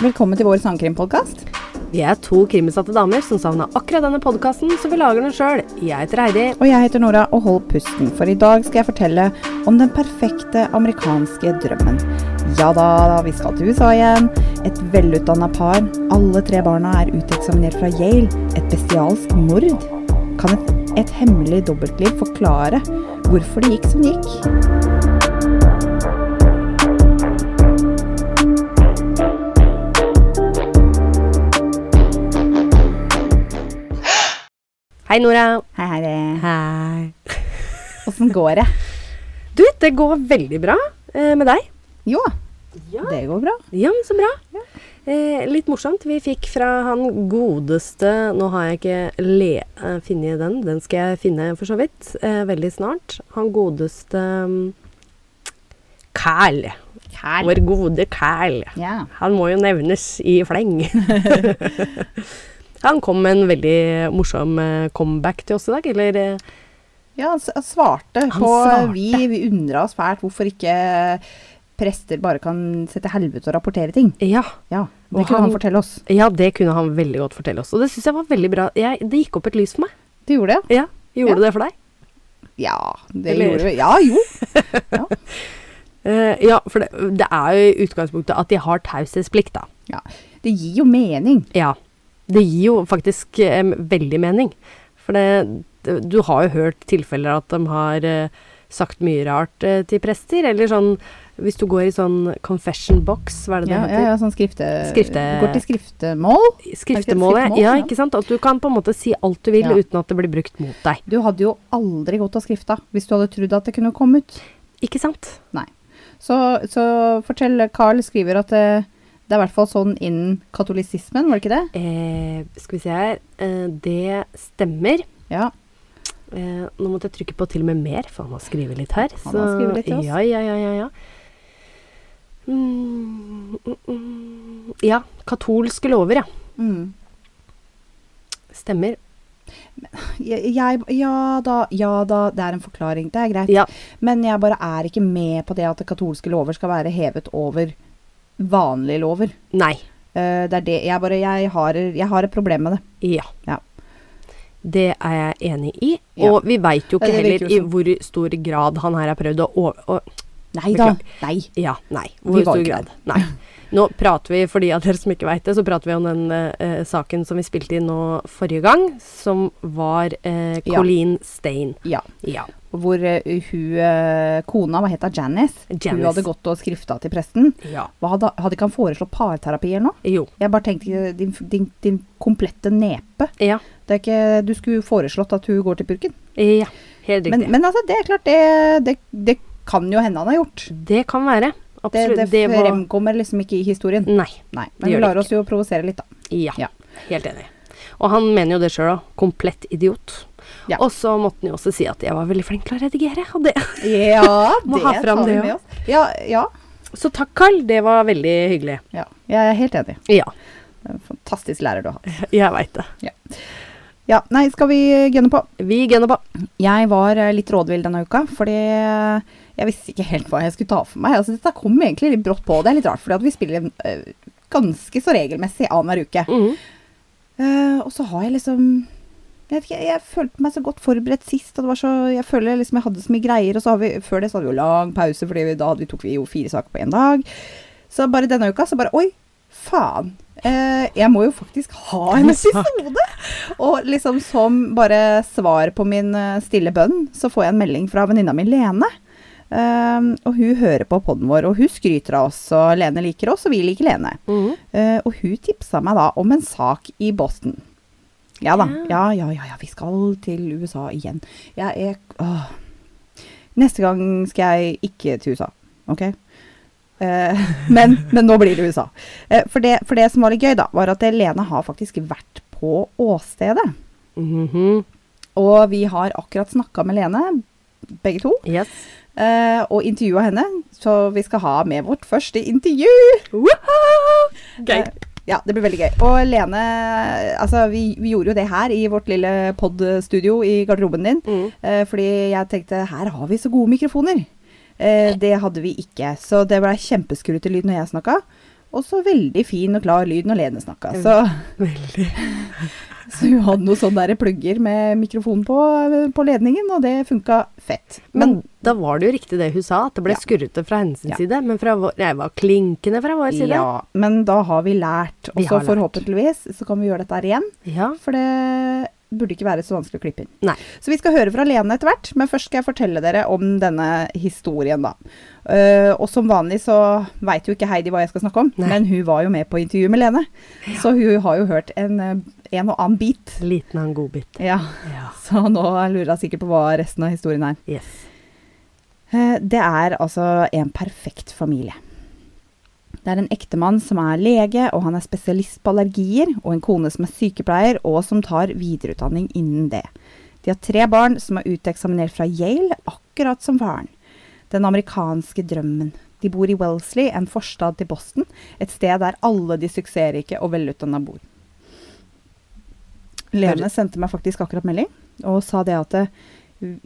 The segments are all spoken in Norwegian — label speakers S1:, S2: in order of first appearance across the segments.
S1: Velkommen til vår sangkrimpodkast.
S2: Vi er to krimutsatte damer som savna akkurat denne podkasten, så vi lager den sjøl. Jeg heter Heidi.
S1: Og jeg heter Nora, og hold pusten, for i dag skal jeg fortelle om den perfekte amerikanske drømmen. Ja da, vi skal til USA igjen. Et velutdanna par. Alle tre barna er uteksaminert fra Yale. Et bestialsk mord. Kan et, et hemmelig dobbeltliv forklare hvorfor det gikk som det gikk?
S2: Hei, Nora.
S1: Hei, hei, det.
S2: Hei.
S1: Åssen går det?
S2: Du, det går veldig bra eh, med deg.
S1: Jo,
S2: Ja.
S1: det går bra.
S2: Ja, men så bra. Eh, litt morsomt. Vi fikk fra han godeste Nå har jeg ikke le, eh, funnet den. Den skal jeg finne for så vidt. Eh, veldig snart. Han godeste mm, Kæl.
S1: Kæl.
S2: Vår gode Kæl.
S1: Ja.
S2: Han må jo nevnes i fleng. han kom med en veldig morsom eh, comeback til oss i dag, eller eh,
S1: Ja, han s- han svarte
S2: Han
S1: på eh,
S2: svarte.
S1: Vi, vi undra oss fælt hvorfor ikke prester bare kan se til helvete og rapportere ting.
S2: Ja.
S1: Ja, det
S2: Og
S1: kunne han
S2: han-
S1: fortelle oss.
S2: Ja, det kunne han veldig godt fortelle oss. Og det syns jeg var veldig bra. Jeg, det gikk opp et lys for meg.
S1: Det gjorde det?
S2: Ja, Gjorde det for deg?
S1: Ja, det
S2: Eller-
S1: gjorde vi. Ja, jo.
S2: Eh, ja, for det, det er jo i utgangspunktet at de har taushetsplikt, da.
S1: Ja. Det gir jo mening.
S2: Ja. Det gir jo faktisk eh, veldig mening. For det, det- du har jo hørt tilfeller at de har eh, sagt mye rart eh, til prester, eller sånn Hvis du går i sånn confession box, hva er det det
S1: Ja, ja,
S2: heter?
S1: ja sånn skrifte...
S2: Skrifte-
S1: Går til skriftemål.
S2: Skriftemålet.
S1: Skriftemål,
S2: Ja,
S1: ja.
S2: ikke sant? At du kan på en måte si alt du vil
S1: Ja.
S2: uten at det blir brukt mot deg.
S1: Du hadde jo aldri gått av skrifta hvis du hadde trodd at det kunne komme ut.
S2: Ikke sant?
S1: Nei. Så, så fortell, Carl skriver at eh, det er i hvert fall sånn innen katolisismen, var det ikke det?
S2: Eh, skal vi se her. Eh, det stemmer.
S1: Ja.
S2: Eh, nå måtte jeg trykke på til og med mer, for han har skrevet litt her.
S1: Han har skrevet litt til oss.
S2: Ja, ja, ja, ja, ja. Mm, mm, mm. ja, katolske lover, ja.
S1: Mm.
S2: Stemmer.
S1: Jeg, jeg, ja da, ja da, det er en forklaring. Det er greit.
S2: Ja.
S1: Men jeg bare er ikke med på det at katolske lover skal være hevet over vanlige lover.
S2: Nei.
S1: Eh, det er det. Jeg, bare, jeg, har, jeg har et problem med det.
S2: Ja.
S1: Ja.
S2: Det er jeg enig i.
S1: Ja.
S2: Og vi veit jo
S1: Ja,
S2: ikke
S1: det virker
S2: heller i
S1: jo sånn.
S2: hvor stor grad han her har prøvd å, over- å
S1: Nei da.
S2: Beklager.
S1: Nei.
S2: Ja, nei.
S1: Vi
S2: Hvor
S1: var
S2: stor
S1: ikke
S2: grad? Nei. Nå prater vi, for de av dere som ikke veit det, så prater vi om den eh, eh, saken som vi spilte inn nå forrige gang, som var eh,
S1: Ja.
S2: Colleen Stein.
S1: Ja.
S2: Ja.
S1: Hvor eh, hun eh, Kona, hva het hun? Janice? Hun
S2: Janice.
S1: hadde gått og skrifta til presten.
S2: ja.
S1: Hva hadde, hadde ikke han foreslått parterapi eller noe?
S2: Jo.
S1: Jeg bare tenkte eh, din, din, din komplette nepe.
S2: Ja.
S1: Det er ikke, du skulle foreslått at hun går til purken.
S2: ja. Helt riktig.
S1: Men, men altså, det er klart, det, det, det kan jo hende han har gjort.
S2: det kan være.
S1: Det,
S2: Absolutt.
S1: det,
S2: var-
S1: fremkommer liksom ikke i historien.
S2: Nei.
S1: Nei,
S2: det
S1: men vi
S2: gjør det
S1: lar oss jo provosere litt, da.
S2: Ja.
S1: Ja.
S2: Helt enig. Og han mener jo det sjøl òg. Komplett idiot.
S1: Ja.
S2: Og så måtte han jo også si at jeg var veldig flink til å redigere. Og det.
S1: Ja,
S2: Må ha fram
S1: tar vi
S2: det,
S1: med
S2: ja.
S1: oss. Ja, ja,
S2: Så takk, Carl. Det var veldig hyggelig.
S1: ja. Jeg er helt enig.
S2: Ja.
S1: Det er en Fantastisk lærer du har hatt.
S2: Jeg veit det.
S1: Ja, nei, skal vi gønne på?
S2: Vi gunner på.
S1: Jeg var eh, litt rådvill denne uka, fordi jeg visste ikke helt hva jeg skulle ta for meg. Altså, dette kom egentlig litt brått på. Det er litt rart, fordi at vi spiller eh, ganske så regelmessig annenhver uke.
S2: Mhm.
S1: Eh, og så har jeg liksom jeg, vet ikke, jeg følte meg så godt forberedt sist, og det var så, jeg føler liksom jeg hadde så mye greier. Og så har vi, før det så hadde vi jo lang pause, for da hadde vi, tok vi jo fire saker på én dag. Så bare denne uka så bare Oi, faen. eh, jeg må jo faktisk ha en
S2: En sak.
S1: episode! Og liksom som bare svar på min eh, stille bønn, så får jeg en melding fra venninna mi Lene. Eh, og hun hører på poden vår, og hun skryter av oss, og Lene liker oss, og vi liker Lene.
S2: Mhm.
S1: Eh, og hun tipsa meg da om en sak i Boston. Ja da. Ja, ja, ja, ja vi skal til USA igjen. Jeg, jeg, åh. Neste gang skal jeg ikke til USA, OK? Eh, men, men nå blir det USA. Eh, for, det, for det som var litt gøy, da, var at Lene har faktisk vært på åstedet.
S2: Mhm.
S1: Og vi har akkurat snakka med Lene, begge to,
S2: Yes.
S1: eh, og intervjua henne. Så vi skal ha med vårt første intervju!
S2: Gøy.
S1: Eh, Ja, det blir veldig gøy. Og Lene, altså vi, vi gjorde jo det her i vårt lille podstudio i garderoben din.
S2: Mm.
S1: eh, Fordi jeg tenkte her har vi så gode mikrofoner. Eh, Det hadde vi ikke, så det ble kjempeskrutt i lyd når jeg snakka. Også veldig fin og klar lyd når Lene snakka.
S2: Mm.
S1: Så,
S2: Veldig.
S1: så hun hadde noen sånne der plugger med mikrofon på, på ledningen, og det funka fett.
S2: Men da var det jo riktig det hun sa, at det ble
S1: Ja.
S2: skurrete fra hennes
S1: Ja.
S2: side. Men fra vår, jeg var klinkende fra vår side.
S1: Ja, men da har vi lært.
S2: Vi
S1: Og
S2: har
S1: så
S2: lært.
S1: forhåpentligvis så kan vi gjøre dette her igjen.
S2: Ja.
S1: For det burde ikke være så vanskelig å klippe inn.
S2: Nei.
S1: Så vi skal høre fra Lene etter hvert, men først skal jeg fortelle dere om denne historien, da. Eh, og som vanlig så veit jo ikke Heidi hva jeg skal snakke om,
S2: Nei.
S1: men hun var jo med på intervjuet med Lene. Så hun har jo hørt en, eh, en og annen bit.
S2: Liten av en godbit.
S1: Ja,
S2: Ja.
S1: så nå lurer hun sikkert på hva resten av historien er.
S2: Yes.
S1: Eh, Det er altså en perfekt familie. Det er en ektemann som er lege, og han er spesialist på allergier, og en kone som er sykepleier, og som tar videreutdanning innen det. De har tre barn som er uteksaminert fra Yale, akkurat som faren. Den amerikanske drømmen. De bor i Wellesley, en forstad til Boston, et sted der alle de suksessrike og velutdanna bor. Lene sendte meg faktisk akkurat melding og sa det at eh,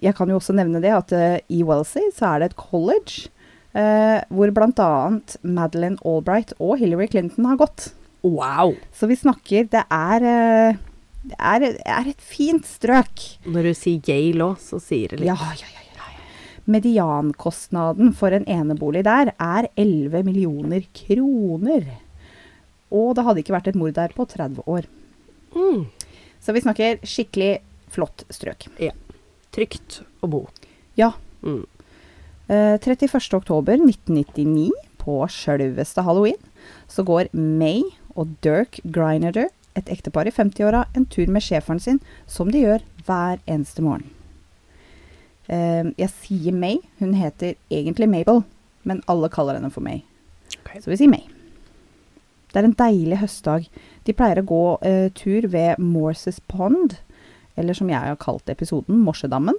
S1: Jeg kan jo også nevne det at eh, i Wellesley så er det et college eh, hvor bl.a. Madeleine Albright og Hillary Clinton har gått.
S2: Wow!
S1: Så vi snakker Det er, eh, det er, det er et fint strøk.
S2: Når du sier Yale òg, så sier det litt.
S1: Ja, ja, ja, ja, ja. Mediankostnaden for en enebolig der er 11 millioner kroner. Og det hadde ikke vært et mord der på 30 år.
S2: Mm.
S1: Så vi snakker skikkelig flott strøk.
S2: Trygt å bo.
S1: Ja.
S2: Mm.
S1: Eh, 31. oktober 1999, på sjølveste halloween, så går May og Dirk Grinerder, et ektepar i 50-åra, en tur med schæferen sin, som de gjør hver eneste morgen. Eh, jeg sier May. Hun heter egentlig Mabel, men alle kaller henne for May.
S2: Ok.
S1: Så vi sier May. Det er en deilig høstdag. De pleier å gå eh, tur ved Morses Pond, eller som jeg har kalt episoden, Morsedammen.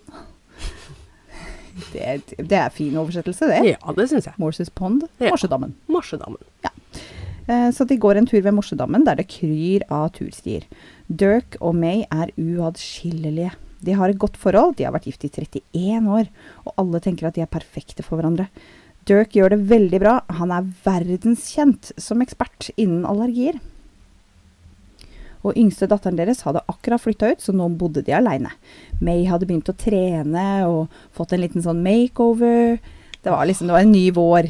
S1: Det, er et- det er fin oversettelse, det.
S2: Ja, det syns jeg.
S1: Morses Pond,
S2: Ja.
S1: Morsedammen.
S2: Morsedammen.
S1: Eh, Så de går en tur ved Morsedammen, der det kryr av turstier. Dirk og May er uadskillelige. De har et godt forhold, de har vært gift i 31 år, og alle tenker at de er perfekte for hverandre. Dirk gjør det veldig bra, han er verdenskjent som ekspert innen allergier. Og yngste datteren deres hadde akkurat flytta ut, så nå bodde de aleine. May hadde begynt å trene og fått en liten sånn makeover. Det var liksom, det var en ny vår.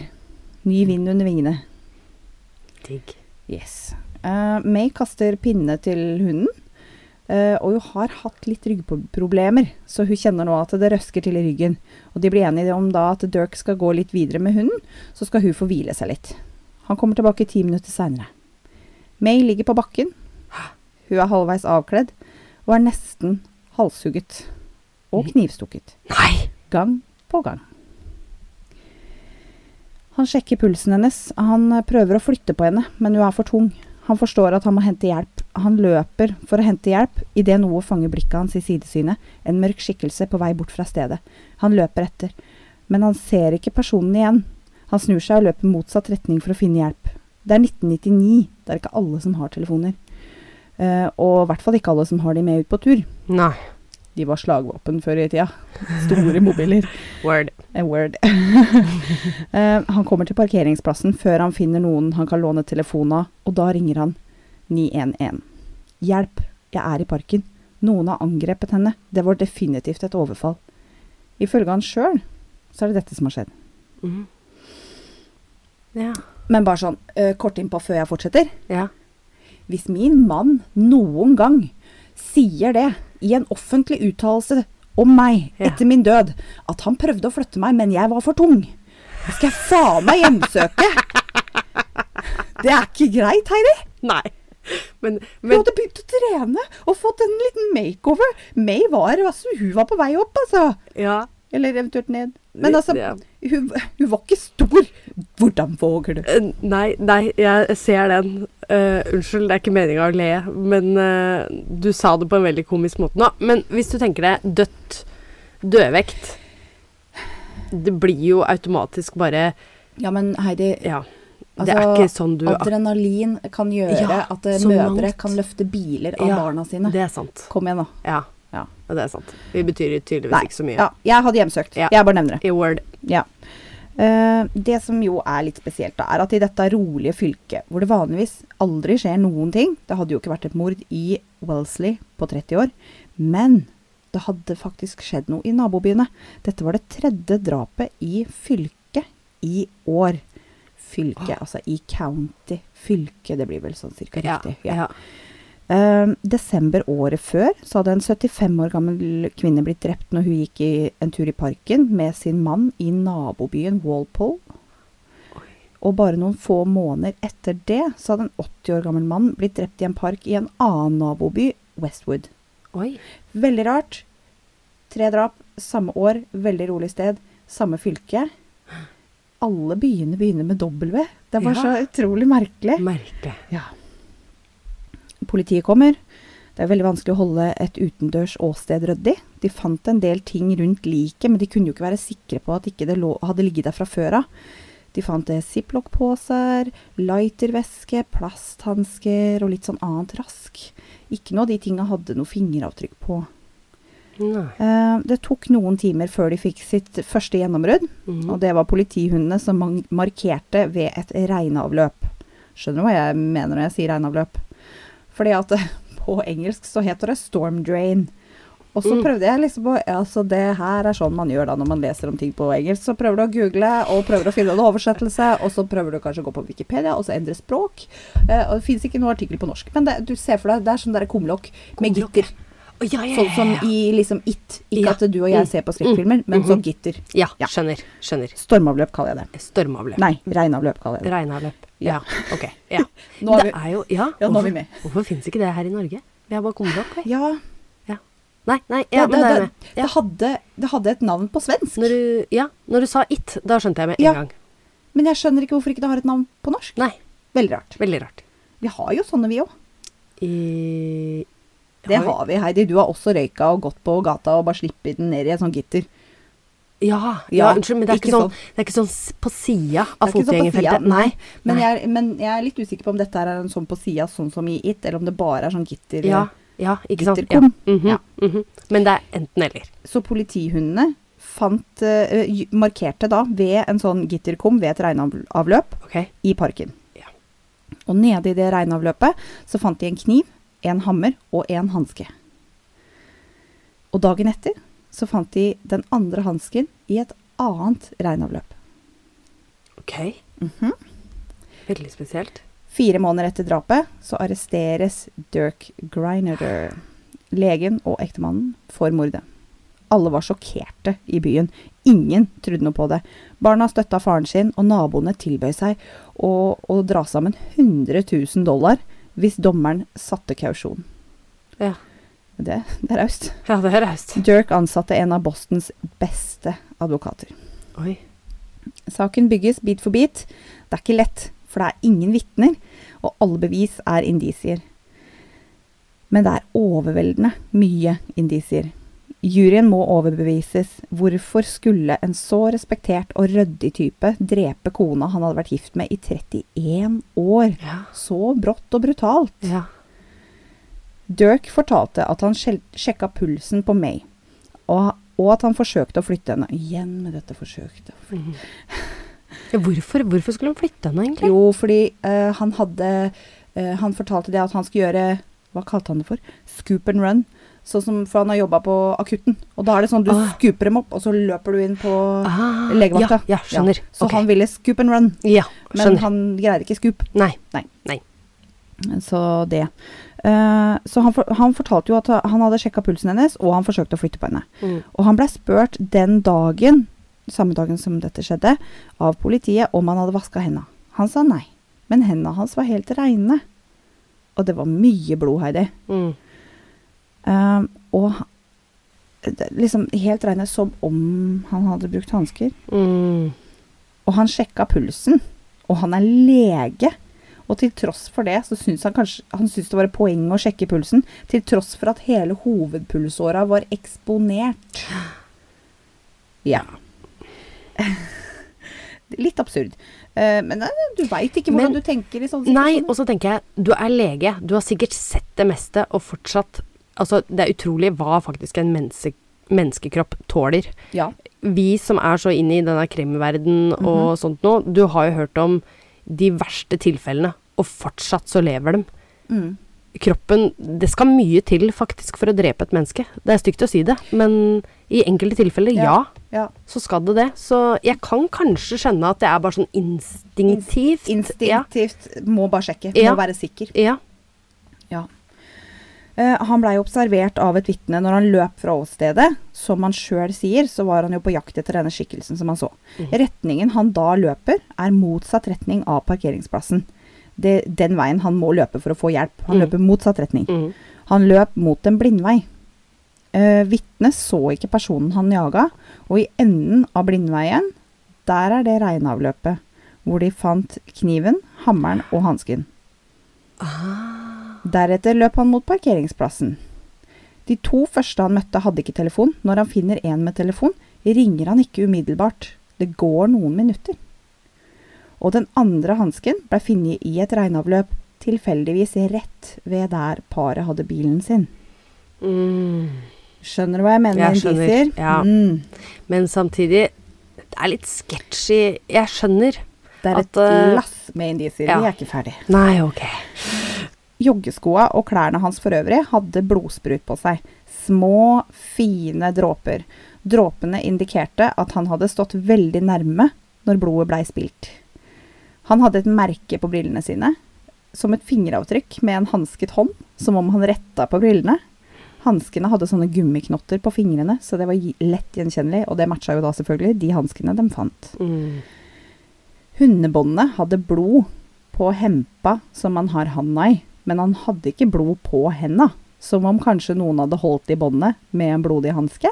S1: Ny vind under vingene.
S2: Digg.
S1: Yes. Eh, May kaster pinne til hunden, eh, og hun har hatt litt ryggproblemer, så hun kjenner nå at det røsker til i ryggen. Og de blir enige om da at Dirk skal gå litt videre med hunden, så skal hun få hvile seg litt. Han kommer tilbake ti minutter seinere. May ligger på bakken. Hun er halvveis avkledd og er nesten halshugget og knivstukket.
S2: Nei!
S1: Gang på gang. Han sjekker pulsen hennes. Han eh, prøver å flytte på henne, men hun er for tung. Han forstår at han må hente hjelp. Han løper for å hente hjelp idet noe fanger blikket hans i sidesynet, en mørk skikkelse på vei bort fra stedet. Han løper etter, men han ser ikke personen igjen. Han snur seg og løper motsatt retning for å finne hjelp. Det er 1999, det er ikke alle som har telefoner. Eh, og i hvert fall ikke alle som har de med ut på tur.
S2: Nei.
S1: De var slagvåpen før i tida. Store mobiler.
S2: Word.
S1: A word. Eh, han kommer til parkeringsplassen før han finner noen han kan låne telefonen av, og da ringer han 911. Hjelp, jeg er i parken. Noen har angrepet henne. Det var definitivt et overfall. Ifølge han sjøl så er det dette som har skjedd.
S2: Mm. Ja.
S1: Men bare sånn eh, kort innpå før jeg fortsetter.
S2: Ja.
S1: Hvis min mann noen gang sier det i en offentlig uttalelse om meg
S2: Ja.
S1: etter min død, at han prøvde å flytte meg, men jeg var for tung, da skal jeg faen meg hjemsøke! Det er ikke greit, Heidi.
S2: Nei. Men,
S1: Hun
S2: men
S1: hadde begynt å trene og fått en liten makeover. May var altså, Hun var på vei opp, altså.
S2: Ja.
S1: Eller eventuelt ned. Men altså,
S2: Ja.
S1: hun, hun var ikke stor. Hvordan våger du?
S2: Eh, Nei, nei, jeg ser den. Eh, unnskyld, det er ikke meninga å le, men eh, du sa det på en veldig komisk måte nå. Men hvis du tenker deg dødt, dødvekt Det blir jo automatisk bare
S1: Ja, men Heidi,
S2: Ja. Det er
S1: Altså,
S2: ikke sånn du
S1: Adrenalin kan gjøre
S2: Ja,
S1: at eh,
S2: så
S1: mødre
S2: mangt.
S1: kan løfte biler av
S2: Ja,
S1: barna sine.
S2: Det er sant.
S1: Kom igjen, da.
S2: Ja.
S1: Ja.
S2: Det er sant. Vi betyr tydeligvis ikke så mye.
S1: Ja, jeg hadde hjemsøkt.
S2: Ja.
S1: Jeg bare nevner det.
S2: I word.
S1: Ja. Eh, det som jo er litt spesielt, da, er at i dette rolige fylket, hvor det vanligvis aldri skjer noen ting Det hadde jo ikke vært et mord i Wellesley på 30 år, men det hadde faktisk skjedd noe i nabobyene. Dette var det tredje drapet i fylket i år. Fylket, altså i county. Fylke, det blir vel sånn cirka riktig. ja.
S2: ja.
S1: Eh, desember året før så hadde en 75 år gammel kvinne blitt drept når hun gikk i, en tur i parken med sin mann i nabobyen Walpole. Og bare noen få måneder etter det så hadde en 80 år gammel mann blitt drept i en park i en annen naboby, Westwood.
S2: Oi.
S1: Veldig rart. Tre drap samme år, veldig rolig sted, samme fylke. Alle byene begynner med W. Det var
S2: Ja.
S1: så utrolig merkelig.
S2: Merkelig.
S1: Ja. Politiet kommer. Det er veldig vanskelig å holde et utendørs åsted ryddig. De fant en del ting rundt liket, men de kunne jo ikke være sikre på at ikke det lå, hadde ligget der fra før av. De fant eh, ziplock-poser, lightervæske, plasthansker og litt sånn annet rask. Ikke noe av de tinga hadde noe fingeravtrykk på.
S2: Nei.
S1: Eh, det tok noen timer før de fikk sitt første gjennombrudd,
S2: Mhm.
S1: og det var politihundene som man markerte ved et regnavløp. Skjønner du hva jeg mener når jeg sier regnavløp? Fordi at eh, på engelsk så heter det storm drain. Og så
S2: Mm.
S1: prøvde jeg liksom å Altså, det her er sånn man gjør da når man leser om ting på engelsk. Så prøver du å google, og prøver å finne en oversettelse, og så prøver du kanskje å gå på Wikipedia, og så endre språk. Eh, og det fins ikke noen artikkel på norsk. Men det, du ser for deg, det er sånn derre kumlokk med
S2: Kumlokk.
S1: gitter.
S2: Å, ja, ja,
S1: Sånn
S2: ja,
S1: som
S2: ja.
S1: i liksom It. Ikke
S2: Ja.
S1: at du og jeg
S2: Mm.
S1: ser på skrekkfilmer, men
S2: Mhm.
S1: som gitter.
S2: ja,
S1: Ja.
S2: skjønner. Skjønner.
S1: Stormavløp kaller jeg det.
S2: Stormavløp.
S1: Nei, regnavløp kaller jeg det.
S2: Regnavløp. Ja. OK. Ja.
S1: Nå er
S2: det
S1: vi-
S2: er jo Ja,
S1: Ja, nå er vi
S2: hvorfor-
S1: med.
S2: Hvorfor fins ikke det her i Norge? Vi har bare kumlokk, vi.
S1: Ja,
S2: Ja. Nei, nei, ja,
S1: det,
S2: men det er
S1: det,
S2: med.
S1: det, det, hadde, det hadde et navn på svensk,
S2: Når du, ja, når du sa it, da skjønte jeg med en
S1: Ja.
S2: gang.
S1: men jeg skjønner ikke hvorfor ikke det har et navn på norsk.
S2: Nei.
S1: Veldig rart.
S2: Veldig rart.
S1: Vi har jo sånne, vi òg.
S2: I,
S1: Det
S2: vi-
S1: har vi, Heidi. Du har også røyka og gått på gata og bare slippet den ned i et sånt gitter.
S2: Ja, ja,
S1: Ja,
S2: unnskyld, men det er ikke,
S1: ikke
S2: sånn, det er ikke sånn s- på sida av
S1: Det er ikke sånn på
S2: fotgjengerfeltet.
S1: siden,
S2: Nei.
S1: Men
S2: nei.
S1: jeg, er- men jeg er litt usikker på om dette her er en sånn på sida, sånn som i It, eller om det bare er sånn gitter.
S2: Ja, ja, ikke sant. Ja.
S1: Gitterkom.
S2: Mhm,
S1: Ja.
S2: mhm. Men det er enten eller.
S1: Så politihundene fant, eh, j- markerte da ved en sånn gitterkum ved et regnavløp
S2: Ok?
S1: i parken.
S2: Ja.
S1: Og nede i det regnavløpet så fant de en kniv, en hammer og en hanske. Og dagen etter så fant de den andre hansken i et annet regnavløp.
S2: Ok.
S1: Mhm.
S2: Veldig spesielt.
S1: Fire måneder etter drapet så arresteres Dirk Grinader, legen og ektemannen, for mordet. Alle var sjokkerte i byen. Ingen trodde noe på det. Barna støtta faren sin, og naboene tilbød seg å, å dra sammen 100 000 dollar hvis dommeren satte kausjon.
S2: Ja,
S1: Det, det er raust.
S2: ja det er raust.
S1: Dirk ansatte en av Bostons beste advokater.
S2: Oi.
S1: Saken bygges bit for bit. Det er ikke lett, for det er ingen vitner, og alle bevis er indisier. Men det er overveldende mye indisier. Juryen må overbevises. Hvorfor skulle en så respektert og ryddig type drepe kona han hadde vært gift med i 31 år?
S2: Ja.
S1: Så brått og brutalt.
S2: ja.
S1: Dirk fortalte at han sjel- sjekka pulsen på May, og, og at han forsøkte å flytte henne. Igjen med dette forsøkte.
S2: Mhm. Ja, Hvorfor, hvorfor skulle hun flytte henne, egentlig?
S1: Jo, fordi eh, han hadde eh, Han fortalte det at han skulle gjøre Hva kalte han det for? Scoop and run. Sånn som, for han har jobba på akutten. Og da er det sånn du
S2: Ah.
S1: scooper dem opp, og så løper du inn på
S2: Ah,
S1: legevakta.
S2: Ja, ja skjønner.
S1: Ja, Så
S2: Ok.
S1: han ville scoop and run,
S2: ja,
S1: men
S2: skjønner.
S1: han greide ikke scoop.
S2: Nei.
S1: Nei.
S2: Nei.
S1: Så det. Eh, så han, for, han fortalte jo at han hadde sjekka pulsen hennes, og han forsøkte å flytte på henne.
S2: Mm,
S1: Og han ble spurt den dagen, samme dagen som dette skjedde, av politiet om han hadde vaska henda. Han sa nei, men henda hans var helt reine. Og det var mye blod, Heidi.
S2: Mm.
S1: Um, og ha- det- liksom helt reine som om han hadde brukt hansker.
S2: Mm.
S1: Og han sjekka pulsen, og han er lege. Og til tross for det, så syns han kanskje han syntes det var et poeng å sjekke pulsen. Til tross for at hele hovedpulsåra var eksponert. Ja. Litt absurd. Eh, men eh, du veit ikke hvordan
S2: Men-
S1: du tenker i sånne
S2: Nei,
S1: situasjoner.
S2: og så tenker jeg, du er lege, du har sikkert sett det meste, og fortsatt Altså, det er utrolig hva faktisk en menneske, menneskekropp tåler.
S1: Ja.
S2: Vi som er så inne i denne krimverden og sånt nå, du har jo hørt om de verste tilfellene, og fortsatt så lever dem.
S1: Mm.
S2: Kroppen Det skal mye til faktisk for å drepe et menneske. Det er stygt å si det, men i enkelte tilfeller, ja.
S1: Ja. ja.
S2: så skal det det. Så jeg kan kanskje skjønne at det er bare sånn instinktivt. Ja.
S1: Instinktivt må bare sjekke.
S2: Ja.
S1: Må være sikker.
S2: ja.
S1: Ja. Eh, han blei observert av et vitne når han løp fra åstedet. Som han sjøl sier, så var han jo på jakt etter denne skikkelsen som han så. Retningen han da løper, er motsatt retning av parkeringsplassen. Det, den veien han må løpe for å få hjelp. Han
S2: Mm.
S1: løper motsatt retning.
S2: Mhm.
S1: Han løp mot en blindvei. Eh, Vitnet så ikke personen han jaga, og i enden av blindveien, der er det reinavløpet, hvor de fant kniven, hammeren og hansken. Deretter løp han mot parkeringsplassen. De to første han møtte, hadde ikke telefon. Når han finner en med telefon, ringer han ikke umiddelbart. Det går noen minutter. Og den andre hansken ble funnet i et regnavløp, tilfeldigvis rett ved der paret hadde bilen sin.
S2: Mm.
S1: Skjønner du hva jeg mener?
S2: Jeg
S1: med
S2: skjønner,
S1: indisier?
S2: ja.
S1: Mm.
S2: Men samtidig Det er litt sketchy. Jeg skjønner.
S1: Det er
S2: At,
S1: et
S2: eh,
S1: lass med indisier.
S2: ja.
S1: Vi er ikke ferdig.
S2: Nei, ok.
S1: Joggeskoa og klærne hans for øvrig hadde blodsprut på seg. Små, fine dråper. Dråpene indikerte at han hadde stått veldig nærme når blodet blei spilt. Han hadde et merke på brillene sine, som et fingeravtrykk med en hansket hånd, som om han retta på brillene. Hanskene hadde sånne gummiknotter på fingrene, så det var gi- lett gjenkjennelig, og det matcha jo da selvfølgelig de hanskene de fant.
S2: Mm.
S1: Hundebåndet hadde blod på hempa som han har handa i, men han hadde ikke blod på henda, som om kanskje noen hadde holdt i båndet med en blodig hanske.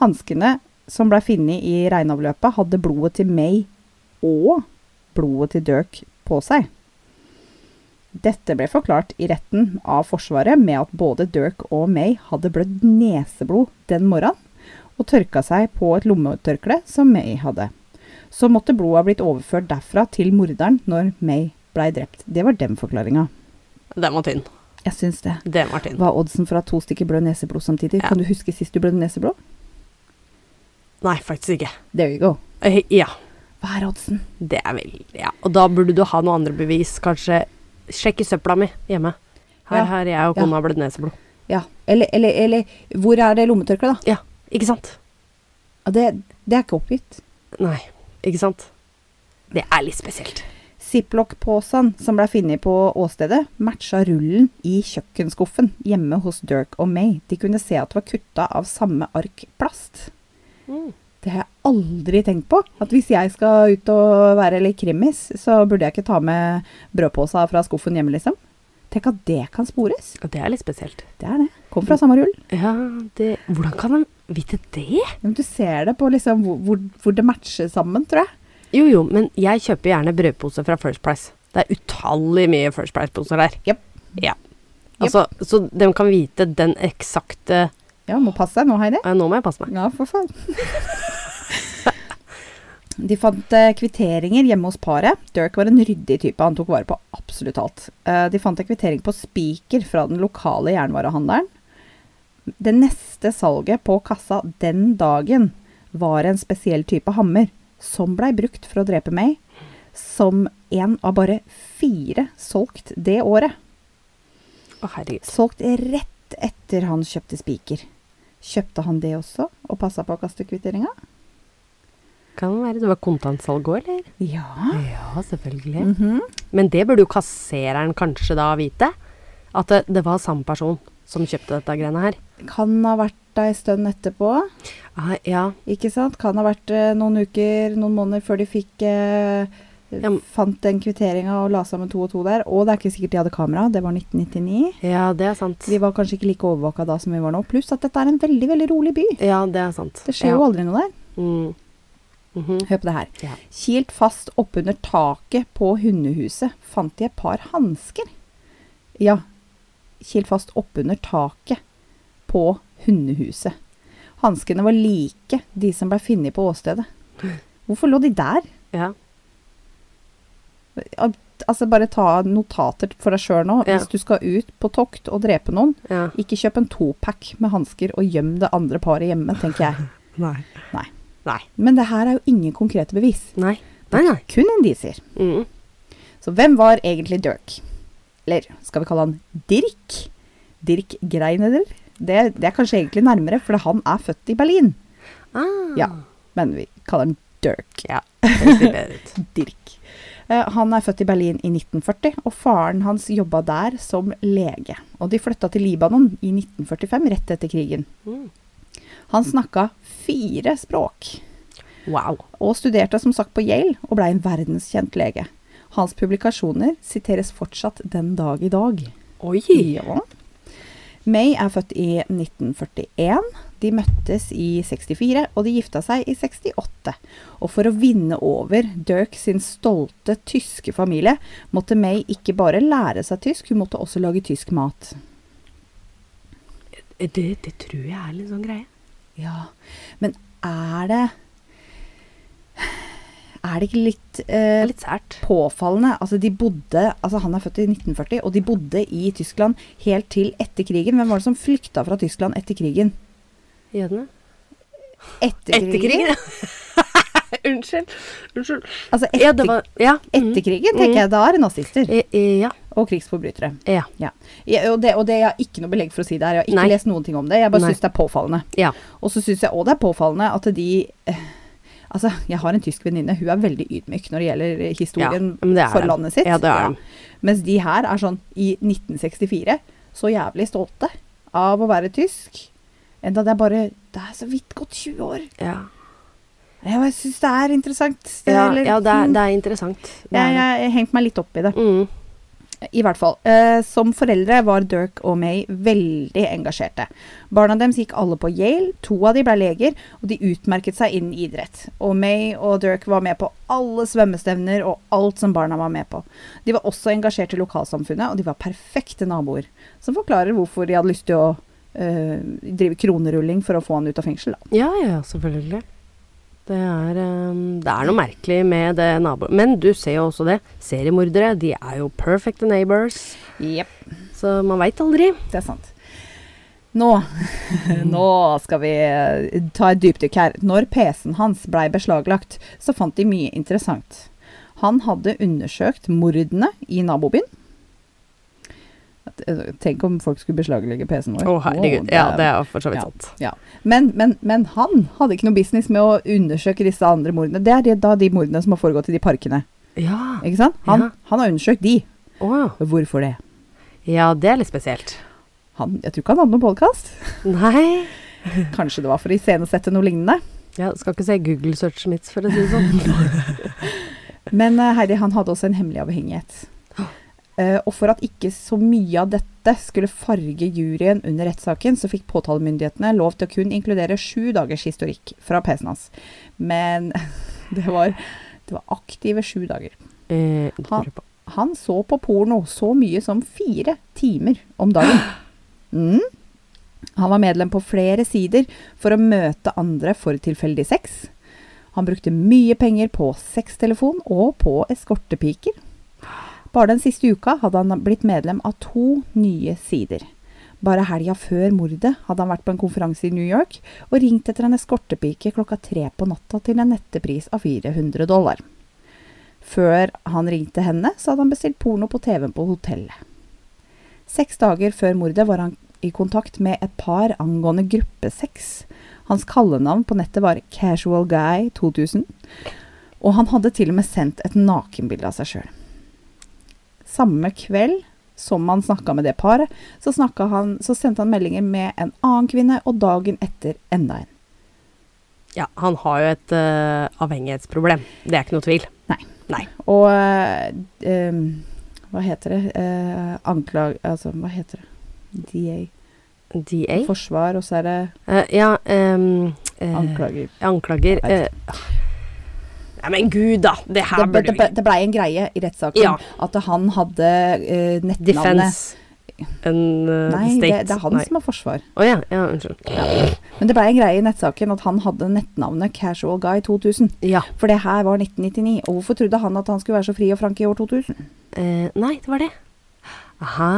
S1: Hanskene som ble funnet i regnavløpet, hadde blodet til May og blodet til Dirk på seg. Dette ble forklart i retten av Forsvaret med at både Dirk og May hadde blødd neseblod den morgenen og tørka seg på et lommetørkle som May hadde. Så måtte blodet ha blitt overført derfra til morderen når May blei drept. Det var den forklaringa.
S2: Den var tynn.
S1: Jeg syns det.
S2: Den var tynn.
S1: Hva er oddsen for at to stykker blør neseblod samtidig?
S2: Ja.
S1: Kan du huske sist du blødde neseblod?
S2: Nei, faktisk ikke.
S1: There you go.
S2: Eh, Ja.
S1: Hva er oddsen?
S2: Det er vel Ja. Og da burde du ha noen andre bevis. Kanskje sjekke søpla mi hjemme. Her
S1: Ja.
S2: har jeg og kona blødd neseblod.
S1: Ja. Eller, eller, eller hvor er det lommetørkleet, da?
S2: Ja. Ikke sant?
S1: Ja, Det, det er ikke oppgitt.
S2: Nei. Ikke sant? Det er litt spesielt.
S1: Ziploc-posen som ble funnet på åstedet, matcha rullen i kjøkkenskuffen hjemme hos Dirk og May. De kunne se at det var kutta av samme ark plast. Det har jeg aldri tenkt på. At hvis jeg skal ut og være litt krimmis, så burde jeg ikke ta med brødposa fra skuffen hjemme, liksom. Tenk at det kan spores.
S2: Og det er litt spesielt.
S1: Det er det. Kom fra samme rull.
S2: Ja, det Hvordan kan de vite det?
S1: Ja, Men du ser det på liksom hvor, hvor, hvor det matcher sammen, tror jeg.
S2: Jo, jo, men jeg kjøper gjerne brødpose fra First Price. Det er utallig mye First Price-poser der.
S1: Jepp.
S2: Ja. Altså, Så de kan vite den eksakte
S1: Ja, må passe deg nå, Heidi.
S2: Ja, Nå må jeg passe meg.
S1: Ja, for faen. De fant eh, kvitteringer hjemme hos paret. Dirk var en ryddig type, han tok vare på absolutt alt. Eh, de fant en kvittering på spiker fra den lokale jernvarehandelen. Det neste salget på kassa den dagen var en spesiell type hammer, som blei brukt for å drepe May, som en av bare fire solgt det året.
S2: Å, herregud.
S1: Solgt rett etter han kjøpte spiker. Kjøpte han det også, og passa på å kaste kvitteringa?
S2: Kan det være det var kontantsalg òg, eller?
S1: Ja.
S2: Ja, selvfølgelig. Men det burde jo kassereren kanskje da vite. At det, det var samme person som kjøpte dette greiene her.
S1: Kan ha vært der en stund etterpå.
S2: Ah, ja,
S1: Ikke sant? Kan ha vært eh, noen uker, noen måneder før de fikk eh,
S2: men-
S1: Fant den kvitteringa og la sammen to og to der. Og det er ikke sikkert de hadde kamera. Det var 1999.
S2: ja, det er sant.
S1: Vi var kanskje ikke like overvåka da som vi var nå. Pluss at dette er en veldig veldig rolig by.
S2: Ja, det er sant.
S1: Det skjer
S2: ja.
S1: jo aldri noe der.
S2: Mm. Mhm.
S1: Hør på det her.
S2: Ja.
S1: Kilt fast oppunder taket på hundehuset fant de et par hansker. Ja, kilt fast oppunder taket på hundehuset. Hanskene var like de som ble funnet på åstedet. Hvorfor lå de der?
S2: ja.
S1: Av altså bare ta notater for deg sjøl nå.
S2: Ja.
S1: Hvis du skal ut på tokt og drepe noen,
S2: Ja.
S1: ikke kjøp en topack med hansker og gjem det andre paret hjemme, tenker jeg.
S2: Nei.
S1: Nei.
S2: Nei.
S1: Men det her er jo ingen konkrete bevis.
S2: Nei, nei. nei.
S1: Kun indisier.
S2: Mm.
S1: Så hvem var egentlig Dirk? Eller skal vi kalle han Dirk? Dirk Greineder? Det, det er kanskje egentlig nærmere, for han er født i Berlin.
S2: Ah.
S1: Ja, men vi kaller han Dirk.
S2: Ja, det ser bedre ut.
S1: Dirk. Eh, Han er født i Berlin i 1940, og faren hans jobba der som lege. Og de flytta til Libanon i 1945, rett etter krigen.
S2: Mm.
S1: Han snakka fire språk,
S2: Wow.
S1: og studerte som sagt på Yale, og blei en verdenskjent lege. Hans publikasjoner siteres fortsatt den dag i dag.
S2: Oi.
S1: Ja. May er født i 1941. De møttes i 64, og de gifta seg i 68. Og for å vinne over Dirk sin stolte tyske familie, måtte May ikke bare lære seg tysk, hun måtte også lage tysk mat.
S2: Det, det tror jeg er litt sånn greie.
S1: Ja, men er det Er det ikke litt, eh,
S2: Det er litt sært.
S1: påfallende. Altså, de bodde, altså, han er født i 1940, og de bodde i Tyskland helt til etter krigen. Hvem var det som flykta fra Tyskland etter krigen?
S2: Jødene?
S1: Etter krigen?
S2: Etter krigen? Unnskyld. Unnskyld.
S1: Altså, etter,
S2: Ja, det var Ja. mm.
S1: etter krigen, tenker jeg. Da er det nazister
S2: Eh, eh, Ja.
S1: og krigsforbrytere.
S2: Ja.
S1: Ja. Ja, og, det, og det jeg har ikke noe belegg for å si det her. Jeg har ikke
S2: Nei.
S1: lest noen ting om det. Jeg bare
S2: Nei.
S1: syns det er påfallende.
S2: ja.
S1: Og så syns jeg òg det er påfallende at de eh, Altså, jeg har en tysk venninne. Hun er veldig ydmyk når det gjelder eh, historien
S2: Ja, men det er
S1: for
S2: de.
S1: landet sitt.
S2: Ja, det er de.
S1: Mens de her er sånn i 1964 så jævlig stolte av å være tysk. Enda det er bare Det er så vidt gått 20 år.
S2: ja.
S1: Jeg bare syns det er interessant. Det,
S2: Ja,
S1: eller- hmm.
S2: ja det, er, det er interessant. Det
S1: Jeg,
S2: er det.
S1: jeg, jeg hengte meg litt opp i det.
S2: Mm.
S1: I hvert fall. Eh, som foreldre var Dirk og May veldig engasjerte. Barna deres gikk alle på Yale, to av de ble leger, og de utmerket seg innen idrett. Og May og Dirk var med på alle svømmestevner og alt som barna var med på. De var også engasjert i lokalsamfunnet, og de var perfekte naboer. Som forklarer hvorfor de hadde lyst til å eh, drive kronerulling for å få han ut av fengsel, da.
S2: Ja, ja, selvfølgelig. Det er, ehm, det er noe merkelig med det naboet. Men du ser jo også det. Seriemordere, de er jo perfect neighbors. Så man veit aldri.
S1: Det er sant. Nå, nå skal vi eh, ta et dypdykk her. Når PC-en hans blei beslaglagt, så fant de mye interessant. Han hadde undersøkt mordene i nabobyen. At, eh, Tenk om folk skulle beslaglegge PC-en vår. Å,
S2: er jo for så
S1: ja,
S2: sant.
S1: ja. Men, men, men han hadde ikke noe business med å undersøke disse andre mordene. Det er de, da de mordene som har foregått i de parkene.
S2: Ja.
S1: Ikke sant? Han,
S2: Ja.
S1: han har undersøkt de.
S2: Å,
S1: Hvorfor det?
S2: ja, det er litt spesielt.
S1: Han, jeg tror ikke han hadde noen podkast.
S2: Nei.
S1: Kanskje det var for å iscenesette noe lignende.
S2: Ja, skal ikke se Google search mitt, for å si det sånn.
S1: Men eh, Heidi han hadde også en hemmelig avhengighet. Eh, og for at ikke så mye av dette skulle farge juryen under rettssaken, så fikk påtalemyndighetene lov til å kun inkludere sju dagers historikk fra PC-en hans. Men det var, det var aktive sju dager.
S2: Eh, det
S1: Ha.
S2: lurer jeg på.
S1: Han så på porno så mye som fire timer om dagen. Mm. Han var medlem på flere sider for å møte andre for tilfeldig sex. Han brukte mye penger på sextelefon og på eskortepiker. Bare den siste uka hadde han blitt medlem av to nye sider. Bare helga før mordet hadde han vært på en konferanse i New York og ringt etter en eskortepike klokka tre på natta til en nettepris av 400 dollar. Før han ringte henne, så hadde han bestilt porno på TV-en på hotellet. Seks dager før mordet var han i kontakt med et par angående gruppesex. Hans kallenavn på nettet var Casual Guy 2000, og han hadde til og med sendt et nakenbilde av seg sjøl. Samme kveld som han snakka med det paret, så, snakka han, så sendte han meldinger med en annen kvinne, og dagen etter enda en.
S2: Ja, han har jo et eh, avhengighetsproblem. Det er ikke noe tvil.
S1: Nei.
S2: Nei.
S1: Og eh, ehm, hva heter det? Eh, anklag... Altså, hva heter det? DA.
S2: DA?
S1: Forsvar, og så er det
S2: Eh, ja, ehm, eh,
S1: anklager.
S2: Anklager.
S1: Jeg
S2: Eh, nei, men gud, da! Det her
S1: Det, ble-
S2: burde
S1: det, ble- det blei en greie i rettssaken
S2: Ja.
S1: at han hadde eh,
S2: vi
S1: nettnavnet
S2: Defense. En eh,
S1: Nei, det,
S2: state?
S1: det er han som har forsvar.
S2: Å ja, ja, unnskyld.
S1: Men det blei en greie i nettsaken at han hadde nettnavnet Casual Guy 2000.
S2: Ja.
S1: For det her var 1999, og hvorfor trodde han at han skulle være så fri og frank i år 2000?
S2: Eh, nei, det var det. Aha.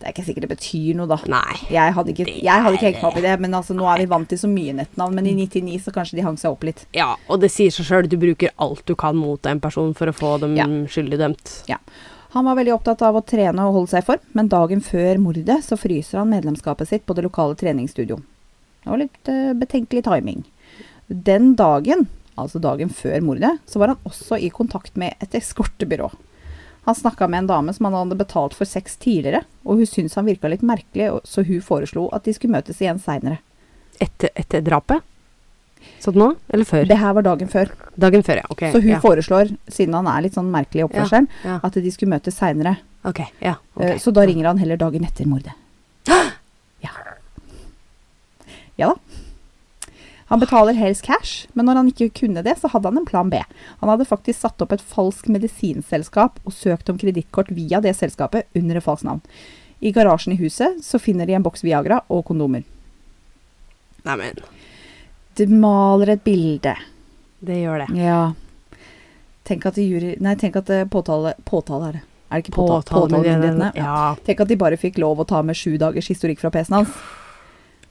S1: Det er ikke sikkert det betyr noe, da.
S2: Nei.
S1: Jeg hadde ikke, jeg hadde ikke hengt meg opp i det, men altså, nå er vi vant til så mye nettnavn. Men i 99 så kanskje de hang seg opp litt.
S2: Ja, og det sier seg sjøl, du bruker alt du kan mot en person for å få dem
S1: Ja.
S2: skyldig dømt.
S1: Ja. Han var veldig opptatt av å trene og holde seg i form, men dagen før mordet så fryser han medlemskapet sitt på det lokale treningsstudioet. Det var litt eh, betenkelig timing. Den dagen, altså dagen før mordet, så var han også i kontakt med et eskortebyrå. Han snakka med en dame som han hadde betalt for sex tidligere, og hun syntes han virka litt merkelig, og- så hun foreslo at de skulle møtes igjen seinere.
S2: Etter, etter drapet? Sånn nå? Eller før?
S1: Det her var dagen før,
S2: Dagen før, ja. Ok.
S1: så hun
S2: ja.
S1: foreslår, siden han er litt sånn merkelig i oppførselen,
S2: ja.
S1: at de skulle møtes seinere.
S2: Ok, ja.
S1: Eh,
S2: ok.
S1: Så da ringer han heller dagen etter mordet. Ja. ja da. Han betaler helst cash, men når han ikke kunne det, så hadde han en plan B. Han hadde faktisk satt opp et falskt medisinselskap og søkt om kredittkort via det selskapet under et falskt navn. I garasjen i huset så finner de en boks Viagra og kondomer.
S2: Nei, men
S1: Det maler et bilde.
S2: det gjør det.
S1: Ja. Tenk at, jury, nei, tenk at eh, påtale, påtale er det. Er det ikke påtale, påtalemyndighetene? Ja.
S2: Ja.
S1: Tenk at de bare fikk lov å ta med sju dagers historikk fra PC-en hans.